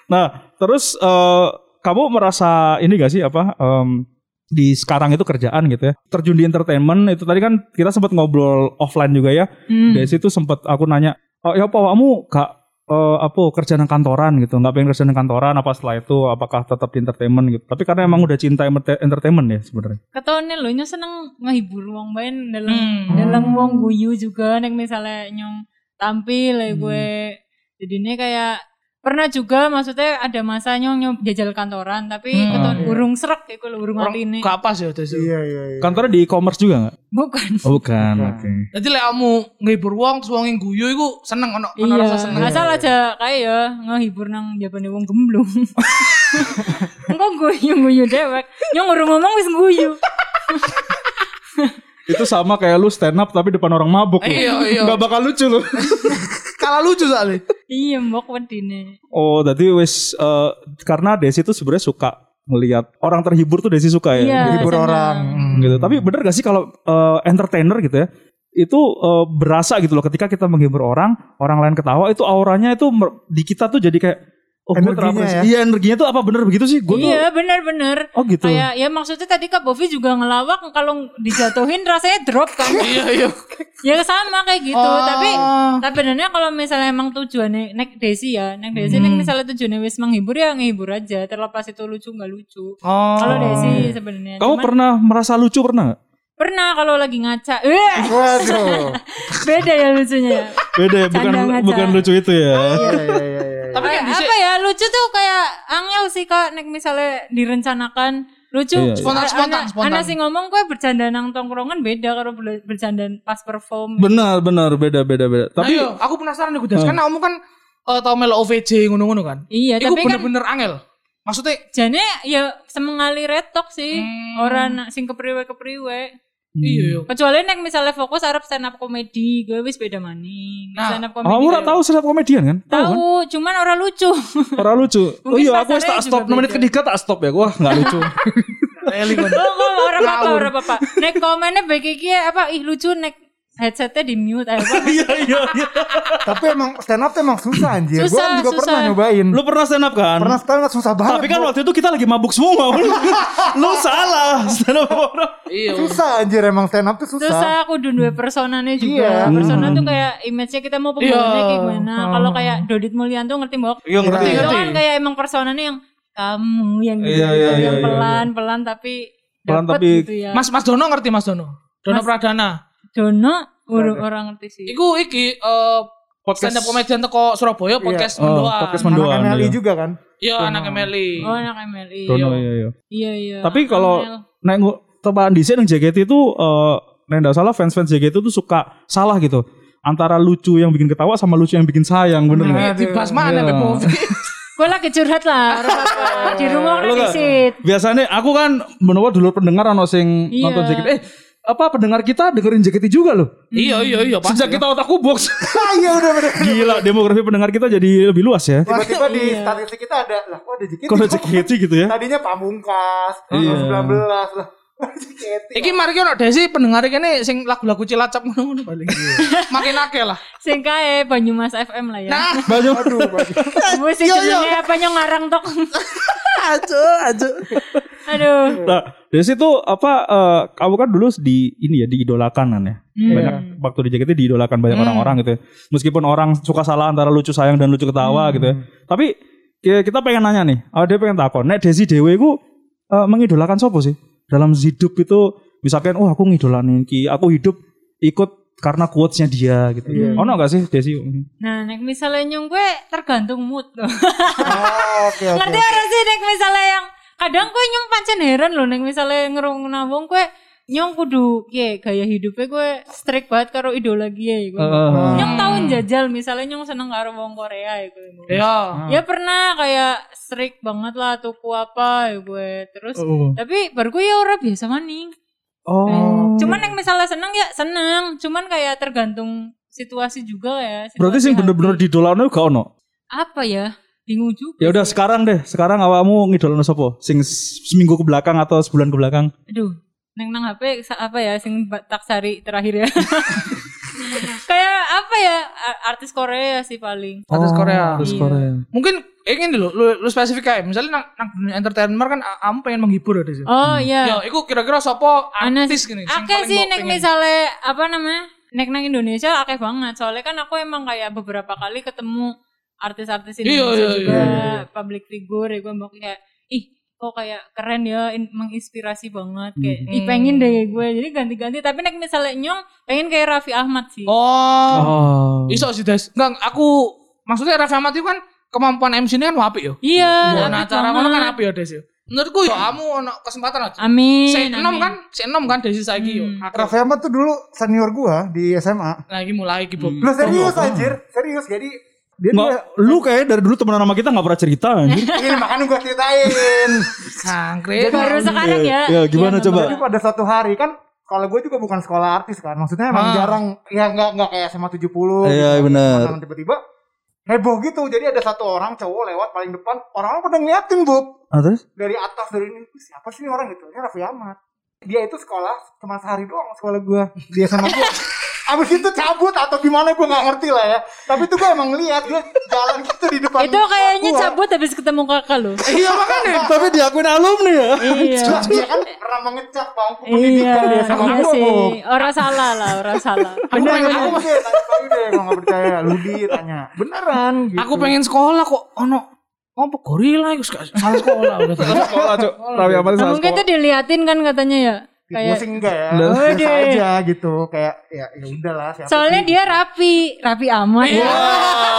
Speaker 2: nah terus eh, kamu merasa ini gak sih apa em, di sekarang itu kerjaan gitu ya terjun di entertainment itu tadi kan kita sempat ngobrol offline juga ya
Speaker 1: Hmm.
Speaker 2: dari situ sempat aku nanya oh ya apa kamu gak eh, apa kerja di kantoran gitu nggak pengen kerja di kantoran apa setelah itu apakah tetap di entertainment gitu tapi karena emang udah cinta emerte- entertainment ya sebenarnya
Speaker 1: Ketone lho nyo seneng ngehibur wong main
Speaker 3: Hmm.
Speaker 1: dalam dalam wong guyu juga nek misalnya nyong tampil ya gue.
Speaker 3: Hmm.
Speaker 1: Jadinya kayak pernah juga maksudnya ada masa nyong nyong jajal kantoran tapi
Speaker 3: Hmm.
Speaker 1: keton urung serak ya kalau urung
Speaker 3: Orang
Speaker 1: hati ini
Speaker 3: gak pas ya Des.
Speaker 5: Iya, iya, iya.
Speaker 2: kantornya di e-commerce juga nggak
Speaker 1: bukan
Speaker 2: oh, bukan oke
Speaker 3: Jadi lek kamu ngehibur wong terus wong yang guyu iku seneng ono ono
Speaker 1: iya
Speaker 3: rasa seneng.
Speaker 1: asal aja kayak ya ngehibur nang jabane wong gemblung engko guyu guyu dewek nyong urung ngomong wis guyu
Speaker 2: itu sama kayak lu stand up tapi depan orang mabuk lu.
Speaker 3: Iya, iya.
Speaker 2: nggak bakal lucu lu
Speaker 3: Kalah lucu soalnya.
Speaker 1: iya mbok wedine
Speaker 2: oh tadi wis eh, karena Desi tuh sebenarnya suka melihat orang terhibur tuh Desi suka ya
Speaker 1: iya
Speaker 5: Hibur
Speaker 1: seneng.
Speaker 5: orang.
Speaker 2: gitu. Tapi bener gak sih kalau eh, entertainer gitu ya, itu eh, berasa gitu loh ketika kita menghibur orang, orang lain ketawa itu auranya itu mer- di kita tuh jadi kayak oh gue
Speaker 5: Energinya
Speaker 2: terapresi-
Speaker 5: ya.
Speaker 2: Iya energinya tuh apa bener begitu sih? Gue
Speaker 1: iya bener-bener
Speaker 2: tuh oh gitu.
Speaker 1: Kayak ya maksudnya tadi Kak Bovi juga ngelawak kalau dijatuhin rasanya drop kan.
Speaker 3: Iya, iya.
Speaker 1: ya sama kayak gitu. Tapi tapi sebenarnya kalau misalnya emang tujuannya nek Desi ya, nek Desi nek misalnya tujuannya wis menghibur ya ngehibur aja terlepas itu lucu nggak lucu.
Speaker 3: Oh.
Speaker 1: Kalau Desi sebenarnya. Iya,
Speaker 2: Kamu
Speaker 1: Cuman
Speaker 2: pernah merasa lucu pernah gak?
Speaker 1: pernah kalau lagi ngaca. Eh,
Speaker 5: Waduh.
Speaker 1: beda ya lucunya. ya.
Speaker 2: Beda ya, bukan
Speaker 1: Canda ngaca.
Speaker 2: bukan lucu itu ya.
Speaker 5: Iya, iya, iya, iya.
Speaker 3: Tapi kan
Speaker 1: Kayak apa ya lucu tuh kayak angel sih Kak nek misalnya direncanakan lucu
Speaker 2: Iya, iya.
Speaker 3: Spontan,
Speaker 1: Ana-
Speaker 3: spontan, spontan.
Speaker 1: ana sih ngomong kue bercanda nang tongkrongan beda kalau ber- bercanda pas perform
Speaker 2: Benar benar beda beda beda. Tapi
Speaker 3: Ayo, aku penasaran nih Des. Kan kamu kan eh, tau melo OVJ ngono-ngono kan.
Speaker 1: Iya,
Speaker 3: Iku
Speaker 1: tapi kan
Speaker 3: bener-bener angel. Maksudnya
Speaker 1: Jane ya semengalir retok sih.
Speaker 3: Hmm.
Speaker 1: Orang sing kepriwe-kepriwe.
Speaker 3: iya.
Speaker 1: Kecuali nek misalnya fokus arep stand up komedi, gue wis beda maning.
Speaker 3: Nah,
Speaker 1: stand up komedi.
Speaker 2: hmm. Kamu ora tahu stand up komedian kan? Tahu kan?
Speaker 1: Tahu, cuman ora lucu.
Speaker 2: Ora lucu.
Speaker 1: Mungkin
Speaker 2: oh iya, aku wis
Speaker 1: pasarnya
Speaker 2: tak stop
Speaker 1: juga
Speaker 2: menit
Speaker 1: beda.
Speaker 2: ketiga tak stop ya. Wah, enggak lucu.
Speaker 1: Oh, oh, ora apa-apa, ora apa-apa. Nek komennya baik iki apa ih lucu nek headsetnya di mute ayo.
Speaker 6: Iya iya iya.
Speaker 5: Tapi emang stand up tuh emang susah anjir. Gue
Speaker 1: Susah,
Speaker 5: juga
Speaker 1: susah.
Speaker 5: pernah nyobain.
Speaker 2: Lu pernah stand up kan?
Speaker 5: Pernah stand up susah banget.
Speaker 2: Tapi kan
Speaker 5: Bo.
Speaker 2: waktu itu kita lagi mabuk semua. Lu, lu salah stand up orang.
Speaker 3: Iya.
Speaker 5: susah anjir emang stand up tuh
Speaker 1: Terus
Speaker 5: susah.
Speaker 1: saya aku dua personanya juga.
Speaker 5: Iya.
Speaker 1: Persona
Speaker 2: Hmm.
Speaker 1: tuh kayak image-nya kita mau pembawaannya
Speaker 3: Iya.
Speaker 1: kayak gimana. Kalau kayak Dodit Mulyanto ngerti mbok.
Speaker 2: Iya, Ah. ngerti.
Speaker 1: Itu
Speaker 3: ngerti.
Speaker 1: kan kayak emang personanya yang kamu yang gitu,
Speaker 2: Iya, iya, iya,
Speaker 1: yang
Speaker 2: iya,
Speaker 1: pelan-pelan tapi
Speaker 2: Pelan
Speaker 1: dapet
Speaker 2: tapi-
Speaker 1: gitu ya.
Speaker 3: Mas Mas Dono ngerti Mas Dono.
Speaker 1: Mas-
Speaker 3: Dono Pradana.
Speaker 1: Dono orang orang ngerti sih.
Speaker 3: Iku iki eh
Speaker 2: Podcast.
Speaker 3: stand up comedian teko Surabaya podcast
Speaker 2: Oh,
Speaker 3: Mendoan.
Speaker 2: podcast
Speaker 5: Anak
Speaker 2: Mendoan,
Speaker 5: MLI
Speaker 2: iya.
Speaker 5: juga kan.
Speaker 3: Iya, anak Emily.
Speaker 1: Oh anak MLI.
Speaker 2: Dono, iya, iya.
Speaker 1: Iya iya.
Speaker 2: Tapi kalau
Speaker 1: Amel.
Speaker 2: nek ngu- tebaan di sini JKT itu eh nek ndak salah fans-fans JKT itu suka salah gitu. Antara lucu yang bikin ketawa sama lucu yang bikin sayang, bener nggak?
Speaker 3: Di Bas mana
Speaker 2: Iya.
Speaker 3: Beb Bovi?
Speaker 1: gue lagi curhat lah orang apa di rumah
Speaker 2: Lu
Speaker 1: orang
Speaker 2: nggak-
Speaker 1: disit.
Speaker 2: Biasanya aku kan menawa dulu pendengar ono sing
Speaker 1: Iya.
Speaker 2: nonton JKT. Eh, apa pendengar kita dengerin JKT juga loh.
Speaker 3: Iya, iya, iya, pasti.
Speaker 2: Sejak kita otakku box.
Speaker 5: Ah iya udah bener.
Speaker 2: Gila, demografi pendengar kita jadi lebih luas ya.
Speaker 5: Tiba-tiba di
Speaker 1: Iya.
Speaker 5: statistik kita ada lah, kok ada JKT.
Speaker 2: Kalau JKT gitu ya.
Speaker 5: Tadinya Pamungkas,
Speaker 2: Iya.
Speaker 5: 19 lah. JKT.
Speaker 3: Iki mari ki ono Desi pendengar kene sing lagu-lagu cilacap ngono-ngono paling. Makin akeh lah.
Speaker 1: Sing kae Banyumas FM lah ya. Nah,
Speaker 2: Baju.
Speaker 5: Aduh, baju.
Speaker 1: musik jenenge apa nyong ngarang tok.
Speaker 3: Ajo, ajo.
Speaker 1: Aduh.
Speaker 2: Nah, dari situ apa eh, kamu kan dulu di ini ya diidolakan kan ya. Banyak waktu di JKT diidolakan banyak orang-orang gitu ya. Meskipun orang suka salah antara lucu sayang dan lucu ketawa gitu ya. Tapi ki- kita pengen nanya nih, ah, dia pengen takon. Nek Desi Dewe ku eh, mengidolakan siapa sih? Dalam hidup itu misalkan oh aku ngidolanin ki, aku hidup ikut karena quotes-nya dia gitu. Oh Ono gak sih Desi?
Speaker 1: Nah, nek misalnya nyong gue tergantung mood loh.
Speaker 5: Ah, Oke oke.
Speaker 1: Ngerti ora sih nek misalnya yang kadang gue nyong pancen heran loh nek misalnya ngerungokna wong gue nyong kudu piye gaya hidupnya gue strict banget karo idola kiye gue.
Speaker 2: Eh,
Speaker 1: Nyong tahun jajal misalnya nyong seneng karo wong Korea ya gue.
Speaker 3: Iya.
Speaker 1: Ya pernah kayak strict banget lah tuku apa ya gue terus tapi baru gue ya ora biasa maning.
Speaker 2: Oh.
Speaker 1: Cuman yang misalnya seneng ya seneng, cuman kayak tergantung situasi juga ya. situasi
Speaker 2: Berarti sing
Speaker 1: hati.
Speaker 2: bener-bener diidolakan gak ono?
Speaker 1: apa ya? Bingung juga.
Speaker 2: Ya udah
Speaker 1: sih.
Speaker 2: sekarang deh, sekarang awakmu ngidolano sapa? Sing s- seminggu ke belakang atau sebulan ke belakang?
Speaker 1: Aduh, neng nang HP sa- apa ya sing ba- tak sari terakhir ya. kayak apa ya a- artis Korea sih paling.
Speaker 3: Artis Korea.
Speaker 2: Artis
Speaker 1: Iya.
Speaker 2: Oh. Korea.
Speaker 3: Mungkin ingin dulu lu, lu spesifik aja. Misalnya nang, nang dunia entertainer kan a- kamu pengen menghibur ya Desi.
Speaker 1: Oh
Speaker 2: Hmm.
Speaker 3: Yo,
Speaker 1: iya.
Speaker 3: iku kira-kira sapa
Speaker 1: Ana
Speaker 3: artis gini sing
Speaker 1: Akeh
Speaker 3: paling
Speaker 1: sih
Speaker 3: mbok
Speaker 1: nek
Speaker 3: pengen?
Speaker 1: misalnya apa namanya? Nek nang Indonesia akeh banget. Soalnya kan aku emang kayak beberapa kali ketemu artis-artis
Speaker 3: Iya,
Speaker 1: Indonesia
Speaker 3: iya,
Speaker 1: juga,
Speaker 3: iya,
Speaker 1: public figure ya gue mau kayak ih kok kayak keren ya in- menginspirasi banget kayak ih
Speaker 3: Hmm.
Speaker 1: pengen deh gue jadi ganti-ganti tapi nek misalnya nyong pengen kayak Raffi Ahmad sih
Speaker 3: Oh.
Speaker 2: Oh.
Speaker 3: Iso sih Des. Enggak, aku maksudnya Raffi Ahmad itu kan kemampuan MC-nya kan apik yo.
Speaker 1: iya
Speaker 3: Nah,
Speaker 1: apik
Speaker 3: acara ngono
Speaker 1: banget.
Speaker 3: kan apik yo Des. yo. Menurutku yo kamu ono kesempatan aja.
Speaker 1: amin
Speaker 3: Si
Speaker 1: amin.
Speaker 3: enom kan, si enom kan Desi saiki yo.
Speaker 1: Hmm.
Speaker 3: Akeh.
Speaker 5: Raffi Ahmad tuh dulu senior gua di SMA.
Speaker 3: Nah, iki mulai iki Bob.
Speaker 5: Lu serius anjir, serius jadi dia
Speaker 2: Nggak, Iya,
Speaker 5: tuh-
Speaker 2: lu kayak dari dulu temenan sama kita nggak pernah cerita anjir.
Speaker 5: ini makanya gua ceritain.
Speaker 3: Sangkrik.
Speaker 1: baru sekarang ya
Speaker 2: Ya, gimana
Speaker 1: Iya,
Speaker 2: coba?
Speaker 5: Jadi pada suatu hari kan kalau gue juga bukan sekolah artis kan, maksudnya emang
Speaker 3: Ah.
Speaker 5: jarang ya nggak nggak kayak SMA 70
Speaker 2: Iya, bener.
Speaker 5: Makanan gitu. tiba-tiba heboh gitu. Jadi ada satu orang cowok lewat paling depan, orang-orang pada ngeliatin, Bob.
Speaker 2: Ah, terus?
Speaker 5: Dari atas dari ini, siapa sih ini orang gitu? Ini Raffi Ahmad. Dia itu sekolah cuma sehari doang sekolah gue. Dia sama gue. Abis itu cabut atau gimana gue nggak ngerti lah ya. Tapi itu gue emang ngeliat dia jalan gitu di depan.
Speaker 1: itu kayaknya
Speaker 5: gua.
Speaker 1: cabut habis ketemu kakak lo
Speaker 5: Iya makanya.
Speaker 2: Tapi diakuin alumni ya.
Speaker 1: iya
Speaker 5: Jelas dia kan pernah mengecap bangku
Speaker 1: iya
Speaker 5: pendidikan dia sama
Speaker 1: iya
Speaker 5: gue,
Speaker 1: sih
Speaker 5: Bob.
Speaker 1: orang salah lah orang salah
Speaker 3: Aku pengen,
Speaker 5: Aku masih tanya Bayu deh, kalau nggak percaya. Ludi tanya. Beneran gitu.
Speaker 3: aku pengen sekolah kok ono apa gorila iku gak salah sekolah udah.
Speaker 2: Sekolah, Cuk. Raffi Ahmad
Speaker 1: Nah,
Speaker 2: sama
Speaker 1: mungkin itu diliatin kan katanya ya.
Speaker 5: Gue
Speaker 1: Kayak
Speaker 5: sih enggak ya.
Speaker 2: Bener.
Speaker 5: Biasa
Speaker 1: Waduh.
Speaker 5: aja gitu. Kayak ya ya udahlah siapa
Speaker 1: soalnya dia rapi, rapi amat. Iya.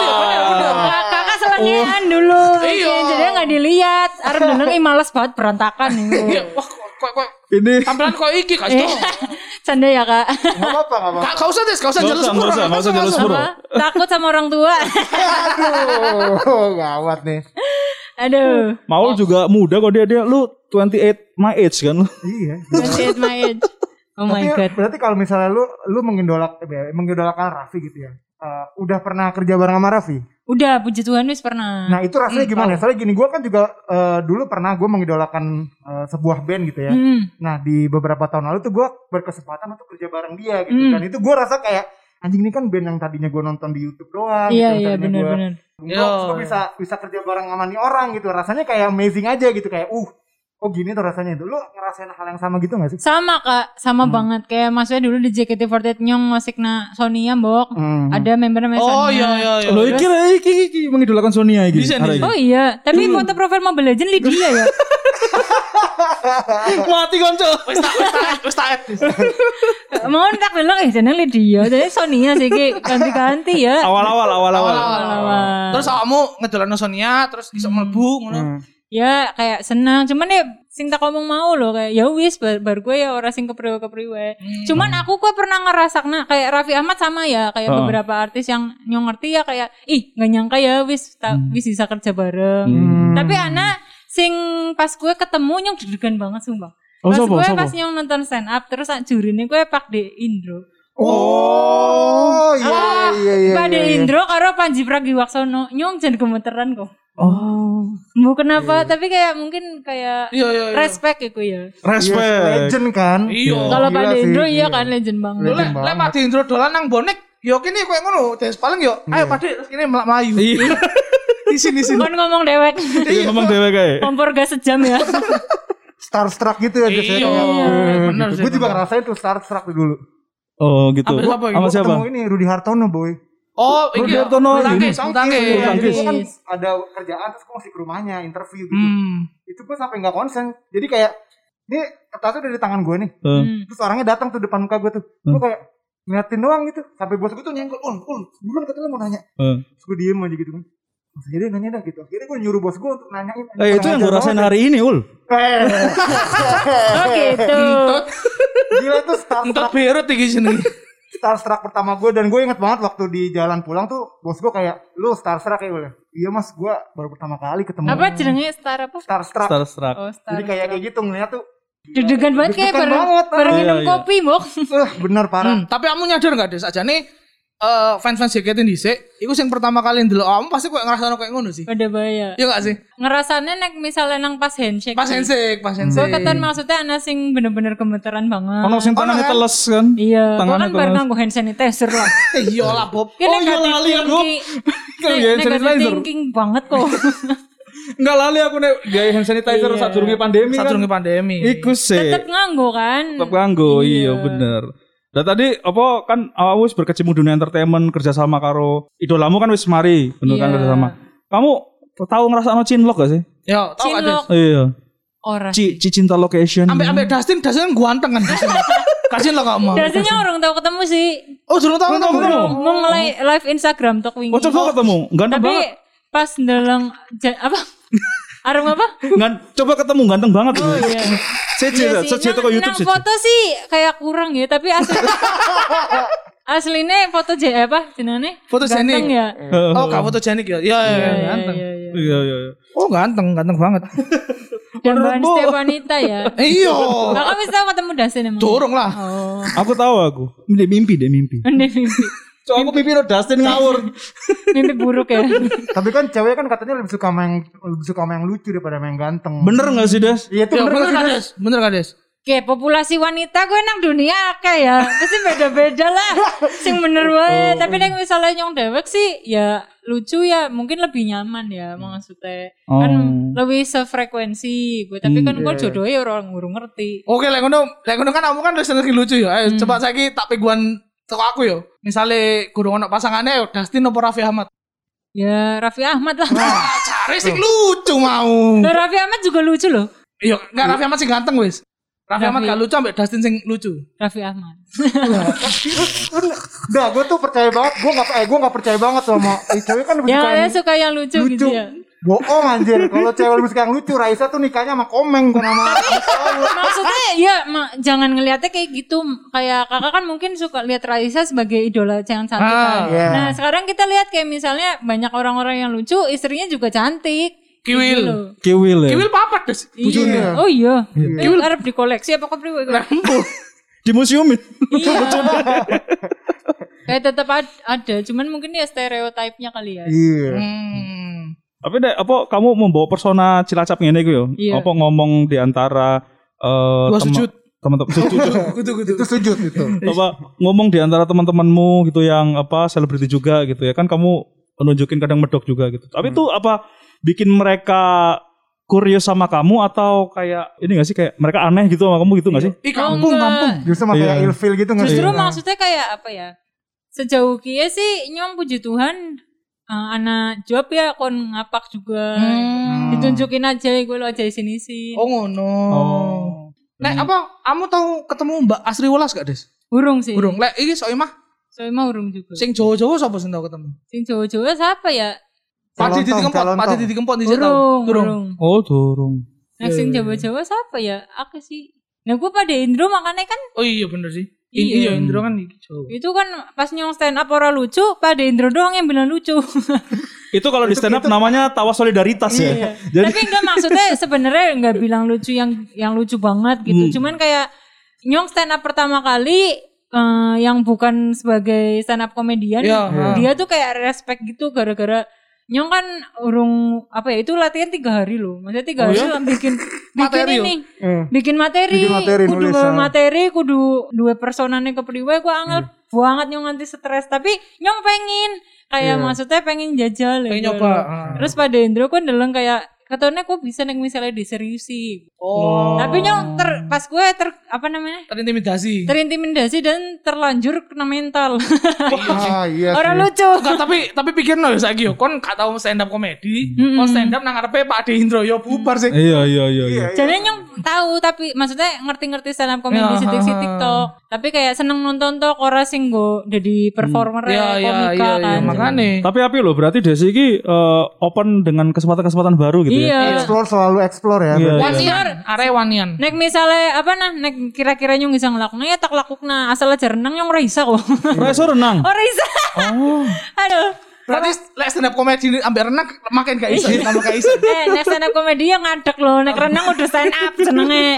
Speaker 1: Kakak kakak selengean dulu.
Speaker 3: Iya.
Speaker 1: Jadi nggak dilihat. Arab deneng ih males banget berantakan. Eh,
Speaker 3: Iya, wah kok kok kok
Speaker 2: Ini
Speaker 3: tampilan kok iki gak tau.
Speaker 1: Canda ya kak.
Speaker 5: Enggak apa-apa, enggak apa-apa.
Speaker 3: Kak gak usah Des, Eh. gak usah
Speaker 2: Gak
Speaker 3: jelas
Speaker 2: usah, gak usah, gak usah jelas, Bro.
Speaker 1: Apa? Takut sama orang tua.
Speaker 5: Aduh, gawat nih.
Speaker 1: Aduh.
Speaker 4: Maul juga muda kok dia dia lu 28 my age kan lu.
Speaker 5: Iya.
Speaker 1: Masih at my age. Oh my
Speaker 5: Tapi ya,
Speaker 1: god.
Speaker 5: Berarti kalau misalnya lu lu mengidolak eh, mengidolakan Raffi gitu ya. Eh, udah pernah kerja bareng sama Raffi.
Speaker 1: Udah puji Tuhan wis pernah.
Speaker 5: Nah itu rasanya
Speaker 1: Hmm,
Speaker 5: gimana? Soalnya gini, gue kan juga eh, dulu pernah gue mengidolakan eh, sebuah band gitu ya.
Speaker 1: Hmm.
Speaker 5: Nah di beberapa tahun lalu tuh gue berkesempatan untuk kerja bareng dia gitu.
Speaker 1: Hmm.
Speaker 5: Dan itu gue rasa kayak anjing ini kan band yang tadinya gue nonton di YouTube doang.
Speaker 1: Iya
Speaker 5: gitu,
Speaker 1: iya
Speaker 5: yang tadinya gua
Speaker 1: benar-benar.
Speaker 5: Gua, gua bisa bisa kerja bareng sama nih orang gitu. Rasanya kayak amazing aja gitu kayak uh oh gini tuh rasanya itu. Lu ngerasain hal yang sama gitu gak sih?
Speaker 1: Sama kak, sama banget kayak maksudnya dulu di JKT48 nyong masikna Sonia mbok
Speaker 5: Hmm.
Speaker 1: ada member-member Sonia.
Speaker 3: Oh iya iya iya.
Speaker 4: Lo iki iki iki mengidolakan Sonia iki.
Speaker 3: Bisa nih.
Speaker 4: hari ini.
Speaker 1: Oh iya, tapi foto profil Mobile Legend Lydia ya.
Speaker 3: Mati konco. Eh. Wis tak wis tak wis tak.
Speaker 1: Mau tak bilang eh jeneng Lydia, jadi Sonia sih Ki. ganti-ganti ya.
Speaker 4: Awal-awal awal-awal.
Speaker 1: Awal-awal.
Speaker 3: Terus awakmu ngedolano Sonia terus iso mlebu ngono.
Speaker 1: ya kayak senang cuman ya sing tak ngomong mau loh kayak ya wis bar, bar gue ya orang sing kepriwe kepriwe cuman aku kok pernah ngerasa nah, kayak Raffi Ahmad sama ya kayak
Speaker 4: Heeh.
Speaker 1: beberapa artis yang nyong ngerti ya kayak ih nggak nyangka ya wis ta- wis bisa kerja bareng
Speaker 5: Hmm.
Speaker 1: tapi anak sing pas gue ketemu nyong deg-degan banget sumpah
Speaker 4: Oh,
Speaker 1: pas
Speaker 4: sopo,
Speaker 1: gue
Speaker 4: sopo?
Speaker 1: pas nyong nonton stand up terus sak jurine gue Pak De Indro
Speaker 5: Oh, iya
Speaker 1: Ah,
Speaker 5: iya iya.
Speaker 1: Pak
Speaker 5: iya,
Speaker 1: De
Speaker 5: iya.
Speaker 1: Indro karo Panji Pragiwaksono nyong jadi gemeteran kok
Speaker 4: Oh.
Speaker 1: mau
Speaker 5: Iya,
Speaker 1: kenapa tapi kayak mungkin kayak
Speaker 3: Iya iya. iya.
Speaker 1: respect iku ya
Speaker 5: Yes,
Speaker 4: Respect.
Speaker 5: legend kan?
Speaker 3: Iya.
Speaker 1: Kalau
Speaker 5: Gila
Speaker 1: pada
Speaker 5: sih,
Speaker 1: Indro
Speaker 5: gila.
Speaker 1: iya kan legend banget.
Speaker 5: Legend
Speaker 3: Lek lek
Speaker 5: banget.
Speaker 3: mati intro dolan nang bonek. Yo kene koyo ngono, des paling yo. Ayo Pade terus kene melak Melayu.
Speaker 4: Iya.
Speaker 3: Di sini sini.
Speaker 1: Bukan Kan ngomong dewek.
Speaker 4: Iya ngomong dhewe kae.
Speaker 1: Kompor gas sejam ya.
Speaker 5: Starstruck gitu ya biasanya.
Speaker 3: Iya, bener sih,
Speaker 5: Gue juga
Speaker 3: bener.
Speaker 5: ngerasain tuh starstruck dulu.
Speaker 4: Oh, gitu.
Speaker 3: Ambil apa,
Speaker 4: Sama
Speaker 5: Gua
Speaker 4: siapa?
Speaker 5: Ketemu ini Rudi Hartono boy.
Speaker 3: Oh, iki.
Speaker 4: Roberto Noli.
Speaker 3: Tangke, sang tangke.
Speaker 5: Iya,
Speaker 1: Tangkis.
Speaker 5: jadi gua kan ada kerjaan terus gue masih ke rumahnya interview gitu.
Speaker 3: Hmm.
Speaker 5: Itu gue sampai nggak konsen. Jadi kayak ini kertasnya udah di tangan gue nih.
Speaker 4: Eh,
Speaker 1: Hmm.
Speaker 5: Terus orangnya datang tuh depan muka gue tuh.
Speaker 4: Hmm.
Speaker 5: Gue kayak ngeliatin doang gitu. Sampai bos gue tuh nyenggol, "Un, un, buruan katanya mau nanya."
Speaker 4: eh.
Speaker 5: Terus gue diem aja gitu kan. Mas aja deh nanya dah gitu. Akhirnya gue nyuruh bos gue untuk nanyain.
Speaker 4: Eh, itu yang gue rasain hari ini, Ul.
Speaker 5: Eh,
Speaker 1: Oh gitu.
Speaker 5: Gila itu starstruck
Speaker 3: Entot berut iki sini.
Speaker 5: starstruck pertama gue dan gue inget banget waktu di jalan pulang tuh bos gue kayak lu starstruck ya gue iya mas gue baru pertama kali ketemu
Speaker 1: Apa jenenge star apa?
Speaker 5: starstruck
Speaker 4: Starstruck.
Speaker 1: Oh star.
Speaker 5: jadi kayak kayak gitu ngeliat tuh
Speaker 1: Deg-degan banget kayak
Speaker 5: Deg-degan
Speaker 1: bareng
Speaker 5: banget,
Speaker 1: bareng
Speaker 4: ah.
Speaker 1: minum
Speaker 4: Iya, iya.
Speaker 1: kopi, Mbok.
Speaker 5: eh bener
Speaker 4: Hmm.
Speaker 5: parah
Speaker 3: Tapi kamu nyadar gak Des? Aja nih fans-fans JKT dhisik, iku sing pertama kali ndelok kamu pasti koyo ngrasakno koyo ngono sih.
Speaker 1: Pada bahaya.
Speaker 3: Iya gak sih?
Speaker 1: Ngerasanya nek misalnya nang pas handshake.
Speaker 3: Pas handshake, pas
Speaker 1: Gue
Speaker 3: handshake.
Speaker 1: keten maksudnya ana sing bener-bener gemeteran banget.
Speaker 4: Hmm. Ono sing tangannya
Speaker 3: kan?
Speaker 4: teles kan?
Speaker 1: Hmm. Iya, gue
Speaker 4: Tangannya
Speaker 1: kan bareng
Speaker 4: keras.
Speaker 1: nganggo hand sanitizer lah.
Speaker 3: Eh, Iya lah Bob.
Speaker 1: Kan
Speaker 4: Oh, iya,
Speaker 1: negatif
Speaker 4: lali aku.
Speaker 1: thinking-
Speaker 4: Kan iya, hand
Speaker 1: negatif
Speaker 4: sanitizer.
Speaker 1: thinking banget kok.
Speaker 4: Enggak lali aku nek gaya hand sanitizer
Speaker 1: Iya.
Speaker 4: saat durunge pandemi kan.
Speaker 3: Sadurunge pandemi.
Speaker 4: Iku sih.
Speaker 1: Tetep nganggo kan.
Speaker 4: Tetap nganggo, iya bener. Dan tadi apa kan awak wis berkecimpung dunia entertainment kerjasama karo idolamu kan wis mari bener
Speaker 1: Iya.
Speaker 4: kan kerjasama. Kamu tahu ngerasa no cinlok gak sih?
Speaker 3: Yo, tau gak Des?
Speaker 1: Cinlok Hmm.
Speaker 4: Iya.
Speaker 1: ora.
Speaker 4: Ci, Cicinta location.
Speaker 3: Ambek ambek Dustin, Dustin guanteng kan. Dustin. Kasih lo kamu.
Speaker 1: Dasinya orang tahu ketemu sih.
Speaker 3: Oh, durung tau
Speaker 4: Belum
Speaker 3: kamu.
Speaker 4: ketemu.
Speaker 1: Mau mulai live Instagram tok wingi.
Speaker 4: Oh, coba ketemu. Ganteng
Speaker 1: Tapi
Speaker 4: banget.
Speaker 1: pas ndeleng ja- apa? Arung apa?
Speaker 4: Ngan, coba ketemu ganteng banget. Oh,
Speaker 1: Iya.
Speaker 4: Cici,
Speaker 1: Iya sih.
Speaker 4: Cici
Speaker 1: Nang-
Speaker 4: toko YouTube
Speaker 1: nang
Speaker 4: Cici.
Speaker 1: foto sih kayak kurang ya, tapi asli aslinya foto J apa jenane?
Speaker 3: Foto
Speaker 1: Ganteng
Speaker 3: Jenny.
Speaker 1: ya.
Speaker 4: Heeh.
Speaker 3: Oh, kamu tuh Janik ya. Iya, iya, iya, ganteng.
Speaker 1: Iya, iya.
Speaker 4: Iya, iya, iya.
Speaker 3: Oh, ganteng, ganteng banget.
Speaker 1: Dan bahan
Speaker 4: Menurutmu-
Speaker 1: setiap wanita ya.
Speaker 3: Eh, Iya.
Speaker 1: Nah, kamu bisa ketemu Dasin emang.
Speaker 3: Dorong lah.
Speaker 1: Oh.
Speaker 4: Aku tahu aku. Ini mimpi deh mimpi.
Speaker 1: Ini mimpi,
Speaker 4: Coba aku pipi lo Dustin ngawur.
Speaker 1: mimpi buruk ya.
Speaker 5: tapi kan cewek kan katanya lebih suka main lebih suka main lucu daripada main ganteng
Speaker 4: Bener Ya, gak sih, Das?
Speaker 5: iya itu
Speaker 3: Yo,
Speaker 5: bener
Speaker 3: bener kan Des? Bener kan Des?
Speaker 1: Oke, populasi wanita gue nang dunia akeh ya. Pasti beda-beda lah. Sing bener wae. Tapi nek misalnya nyong dewek sih ya lucu ya, mungkin lebih nyaman ya maksudnya. Kan lebih sefrekuensi gue. Tapi kan gue jodohnya orang ngurung ngerti.
Speaker 3: Oke, lek ngono, lek ngono kan kamu kan Dustin lagi lucu ya.
Speaker 1: Hmm.
Speaker 3: Ayo coba saiki tak peguan toko aku yo. Misalnya kurang ono pasangannya yo Dustin opo Raffi Ahmad.
Speaker 1: Ya Raffi Ahmad lah.
Speaker 3: Ah, cari sing lucu mau.
Speaker 1: Loh, Raffi Ahmad juga lucu loh.
Speaker 3: Iya, enggak Raffi Ahmad sing ganteng wis. Raffi Ahmad gak lucu ambek Dustin sing lucu.
Speaker 1: Raffi Ahmad.
Speaker 5: Nah gue tuh percaya banget gue nggak eh gue nggak percaya banget sama eh, cewek kan lebih
Speaker 1: ya,
Speaker 5: suka
Speaker 1: ya
Speaker 5: yang
Speaker 1: suka yang lucu,
Speaker 5: lucu
Speaker 1: gitu ya.
Speaker 5: bohong anjir kalau cewek lebih suka yang lucu Raisa tuh nikahnya sama komeng tuh nama
Speaker 1: Maksudnya ya ma- jangan ngelihatnya kayak gitu kayak kakak kan mungkin suka lihat Raisa sebagai idola yang cantik kan.
Speaker 5: iya.
Speaker 1: Nah sekarang kita lihat kayak misalnya banyak orang-orang yang lucu istrinya juga cantik
Speaker 3: Kiwil.
Speaker 1: Gitu loh.
Speaker 2: Kiwil ya.
Speaker 3: Kiwil papat Des.
Speaker 5: Bujune.
Speaker 1: Iya. Oh iya.
Speaker 3: Iya.
Speaker 1: Kiwil arep dikoleksi apa kok priwe?
Speaker 3: Lampu.
Speaker 2: Di museumin.
Speaker 1: Iya. Kayak tetap ad- ada, cuman mungkin ya stereotipnya kali ya.
Speaker 5: Iya.
Speaker 3: Hmm.
Speaker 2: Tapi deh, apa kamu membawa persona Cilacap ngene iku yo?
Speaker 1: Iya.
Speaker 2: Apa ngomong di antara eh
Speaker 3: Gua
Speaker 2: tema-
Speaker 3: sujud.
Speaker 2: teman-teman sujud.
Speaker 3: Kudu kudu.
Speaker 5: Itu sujud gitu.
Speaker 2: apa ngomong di antara teman-temanmu gitu yang apa selebriti juga gitu ya kan kamu nunjukin kadang medok juga gitu.
Speaker 4: Hmm.
Speaker 2: Tapi itu apa bikin mereka kurios sama kamu atau kayak ini gak sih kayak mereka aneh gitu sama kamu gitu
Speaker 4: Iya.
Speaker 2: gak sih?
Speaker 3: Ih
Speaker 1: Oh,
Speaker 3: kampung
Speaker 1: enggak.
Speaker 3: kampung.
Speaker 5: Justru malah kayak
Speaker 2: Iya.
Speaker 5: ilfil gitu nggak
Speaker 1: Justru
Speaker 5: sih?
Speaker 1: maksudnya kayak apa ya? Sejauh kia sih nyong puji Tuhan eh, anak job ya kon ngapak juga.
Speaker 3: Hmm.
Speaker 1: Ditunjukin aja gue lo aja di sini sih.
Speaker 3: Oh ngono.
Speaker 1: Oh.
Speaker 4: Oh.
Speaker 3: Nek apa kamu tahu ketemu Mbak Asri Welas gak Des?
Speaker 1: Burung sih.
Speaker 3: Burung. Lek iki sok mah
Speaker 1: Soalnya mah burung juga.
Speaker 3: sing Jawa-Jawa sapa sing tau ketemu?
Speaker 1: Sing Jawa-Jawa siapa ya?
Speaker 3: Paji di
Speaker 5: Calontong,
Speaker 3: dikempot, Paji
Speaker 5: calontong.
Speaker 3: di dikempot di
Speaker 1: Burung,
Speaker 3: Burung. Iya,
Speaker 1: burung.
Speaker 2: Oh, turung.
Speaker 1: Nah, sing Jawa-Jawa siapa ya? Aku sih. Nah, gue pada Indro makanya kan
Speaker 3: Oh iya bener sih.
Speaker 1: Iya.
Speaker 3: Iya, iya Indro kan iki Jawa.
Speaker 1: itu kan pas nyong stand up orang lucu, pada Indro doang yang bilang lucu.
Speaker 2: Itu gitu. kalau di stand up namanya tawa solidaritas ya. Jadi
Speaker 1: Tapi enggak maksudnya sebenarnya enggak bilang lucu yang yang lucu banget
Speaker 3: Hmm.
Speaker 1: gitu. Cuman kayak nyong stand up pertama kali eh, yang bukan sebagai stand up komedian,
Speaker 3: Iya, iya.
Speaker 1: dia tuh kayak respect gitu gara-gara nyong kan urung apa ya itu latihan tiga hari loh. Maksudnya tiga hari lah bikin bikin
Speaker 3: Oh iya? Materi
Speaker 1: ini. Bikin materi,
Speaker 5: Hmm. Bikin materi,
Speaker 1: kudu
Speaker 5: nulis,
Speaker 1: gawe
Speaker 5: ah.
Speaker 1: materi, kudu dua personane kepriwe gua angel
Speaker 5: Hmm.
Speaker 1: banget nyong nganti stres, tapi nyong pengen kayak
Speaker 5: Iya.
Speaker 1: maksudnya pengen jajal ya,
Speaker 3: Pengen
Speaker 1: gitu
Speaker 3: nyoba.
Speaker 1: loh.
Speaker 3: ah.
Speaker 1: Terus pada Indro kan deleng kayak katanya kok bisa neng misalnya diseriusi.
Speaker 3: Oh.
Speaker 1: Tapi nyong ter, pas gue ter apa namanya?
Speaker 3: terintimidasi.
Speaker 1: terintimidasi dan terlanjur kena mental.
Speaker 5: Ah iya
Speaker 1: Orang
Speaker 5: sih.
Speaker 1: lucu.
Speaker 3: Enggak, tapi tapi pikir no saiki yo kon gak tau stand up komedi, kon stand up nang ngarepe Pak De Indro yo bubar sih.
Speaker 2: Iya, iya, iya, iya.
Speaker 1: Jadi nyong tahu tapi maksudnya ngerti-ngerti stand up comedy
Speaker 3: Ya,
Speaker 1: sitik
Speaker 3: ha, ha.
Speaker 1: sitik tok. Tapi kayak seneng nonton tok ora sing go jadi performer
Speaker 3: Iya iya
Speaker 1: komika
Speaker 3: iya iya
Speaker 1: kan.
Speaker 3: makane.
Speaker 2: Tapi api loh, berarti Desi ini eh, open dengan kesempatan-kesempatan baru gitu ya.
Speaker 1: Iya.
Speaker 5: Explore selalu explore ya.
Speaker 2: Iya.
Speaker 3: Wanian, are wanian.
Speaker 1: Nek misalnya apa nah, nek kira-kira nyong bisa ngelakuin ya tak lakukan asal aja renang nyong raisa kok.
Speaker 2: Reso renang.
Speaker 1: oh raisa. Aduh.
Speaker 3: Berarti Iya. lek stand up komedi ini ambek renang makin gak iso, tambah gak iso.
Speaker 1: Eh, nek stand up komedi yang ngadek loh. Nek renang udah stand up jenenge.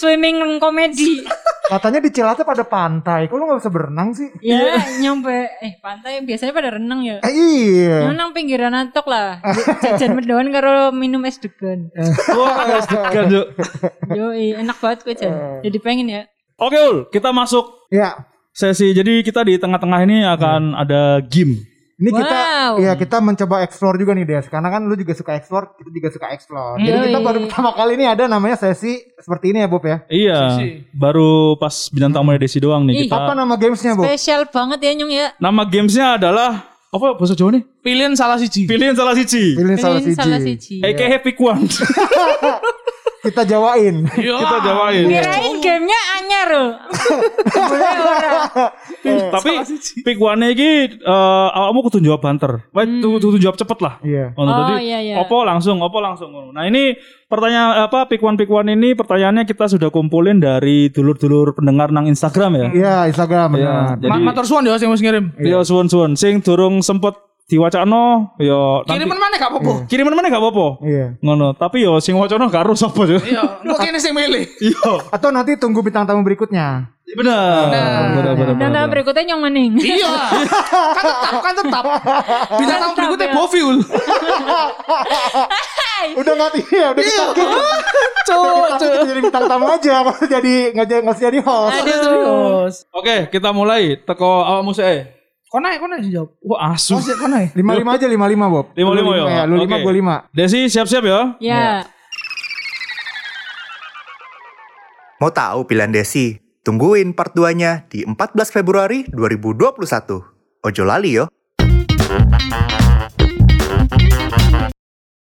Speaker 1: Swimming komedi.
Speaker 5: Katanya di Cilacap ada pantai. Kok lu nggak bisa berenang sih?
Speaker 1: Ya,
Speaker 3: Iya.
Speaker 1: nyampe eh pantai biasanya pada renang ya.
Speaker 5: Eh, iya.
Speaker 1: Renang pinggiran antok lah. Jajan mendoan karo minum es degan.
Speaker 3: Eh.
Speaker 2: Wah, deg-degan, Cuk.
Speaker 1: Yo, enak banget gue Jan. Jadi pengen ya.
Speaker 2: Oke, Ul, kita masuk
Speaker 5: Ya.
Speaker 2: sesi. Jadi kita di tengah-tengah ini akan ada game.
Speaker 5: Ini kita
Speaker 1: Wow.
Speaker 5: ya kita mencoba explore juga nih Des. Karena kan lu juga suka explore, kita juga suka explore. Jadi kita
Speaker 1: Yoi.
Speaker 5: baru pertama kali ini ada namanya sesi seperti ini ya Bob ya.
Speaker 2: Iya,
Speaker 3: Sesi.
Speaker 2: baru pas bintang tamunya Desi doang nih
Speaker 1: Ih.
Speaker 2: kita.
Speaker 5: Apa nama gamesnya Bob?
Speaker 1: Spesial banget ya Nyong ya.
Speaker 2: Nama gamesnya adalah apa bahasa Jawa nih?
Speaker 3: Pilihan salah siji.
Speaker 2: Pilihan salah siji.
Speaker 5: Pilih salah
Speaker 1: Pengen salah
Speaker 5: siji.
Speaker 1: siji.
Speaker 2: Eke Happy One.
Speaker 5: Kita jawain.
Speaker 3: Yo.
Speaker 2: kita
Speaker 1: Iya.
Speaker 2: jawain.
Speaker 1: Kirain gamenya anyar loh. Boleh ora.
Speaker 5: Eh,
Speaker 2: Tapi pick one iki eh awakmu kudu jawab banter. Wah, tu- kudu jawab cepet lah.
Speaker 5: Iya.
Speaker 1: Oh,
Speaker 2: Oh, tadi
Speaker 1: iya, iya.
Speaker 2: opo langsung, opo langsung. Nah ini pertanyaan apa pick one pick one ini pertanyaannya kita sudah kumpulin dari dulur-dulur pendengar nang Instagram ya.
Speaker 5: Iya, Instagram.
Speaker 2: Iya,
Speaker 5: benar.
Speaker 2: jadi
Speaker 3: Matur suwun yo sing wis ngirim.
Speaker 2: yo suwun-suwun sing durung sempet diwacano yo nanti-
Speaker 3: Kiriman mana gak apa-apa.
Speaker 2: kiriman mana gak apa-apa.
Speaker 5: Iya.
Speaker 2: Ngono, tapi yo sing wacana gak harus apa yo.
Speaker 3: Iya, kok kene sing milih.
Speaker 2: Iya.
Speaker 5: Atau nanti tunggu bintang tamu berikutnya.
Speaker 2: Benar. Benar benar.
Speaker 1: Dan
Speaker 2: benar.
Speaker 1: nah, berikutnya Nyong maning.
Speaker 3: Iya. Kan tetap, kan tetap. Bintang tamu
Speaker 1: Tetap,
Speaker 3: berikutnya
Speaker 1: ya.
Speaker 3: Boviul.
Speaker 5: Udah nanti ya, udah kita
Speaker 3: Cuk,
Speaker 5: Tapi kita jadi bintang tamu aja, masa jadi nggak jadi nggak usah jadi host.
Speaker 3: Serius.
Speaker 2: Oke, kita mulai teko awakmu sih.
Speaker 3: Kok naik, kok naik jawab.
Speaker 2: Wah,
Speaker 5: Oh,
Speaker 2: asu.
Speaker 3: Sik kok naik.
Speaker 5: Lima lima aja, lima lima Bob.
Speaker 2: Lima lima
Speaker 5: Lu
Speaker 2: ya.
Speaker 5: Lu lima,
Speaker 2: Oke.
Speaker 5: gue lima.
Speaker 2: Desi siap-siap ya.
Speaker 1: Ya.
Speaker 7: Mau tahu pilihan Desi? Tungguin part 2-nya di 14 Februari 2021. Ojo lali yo.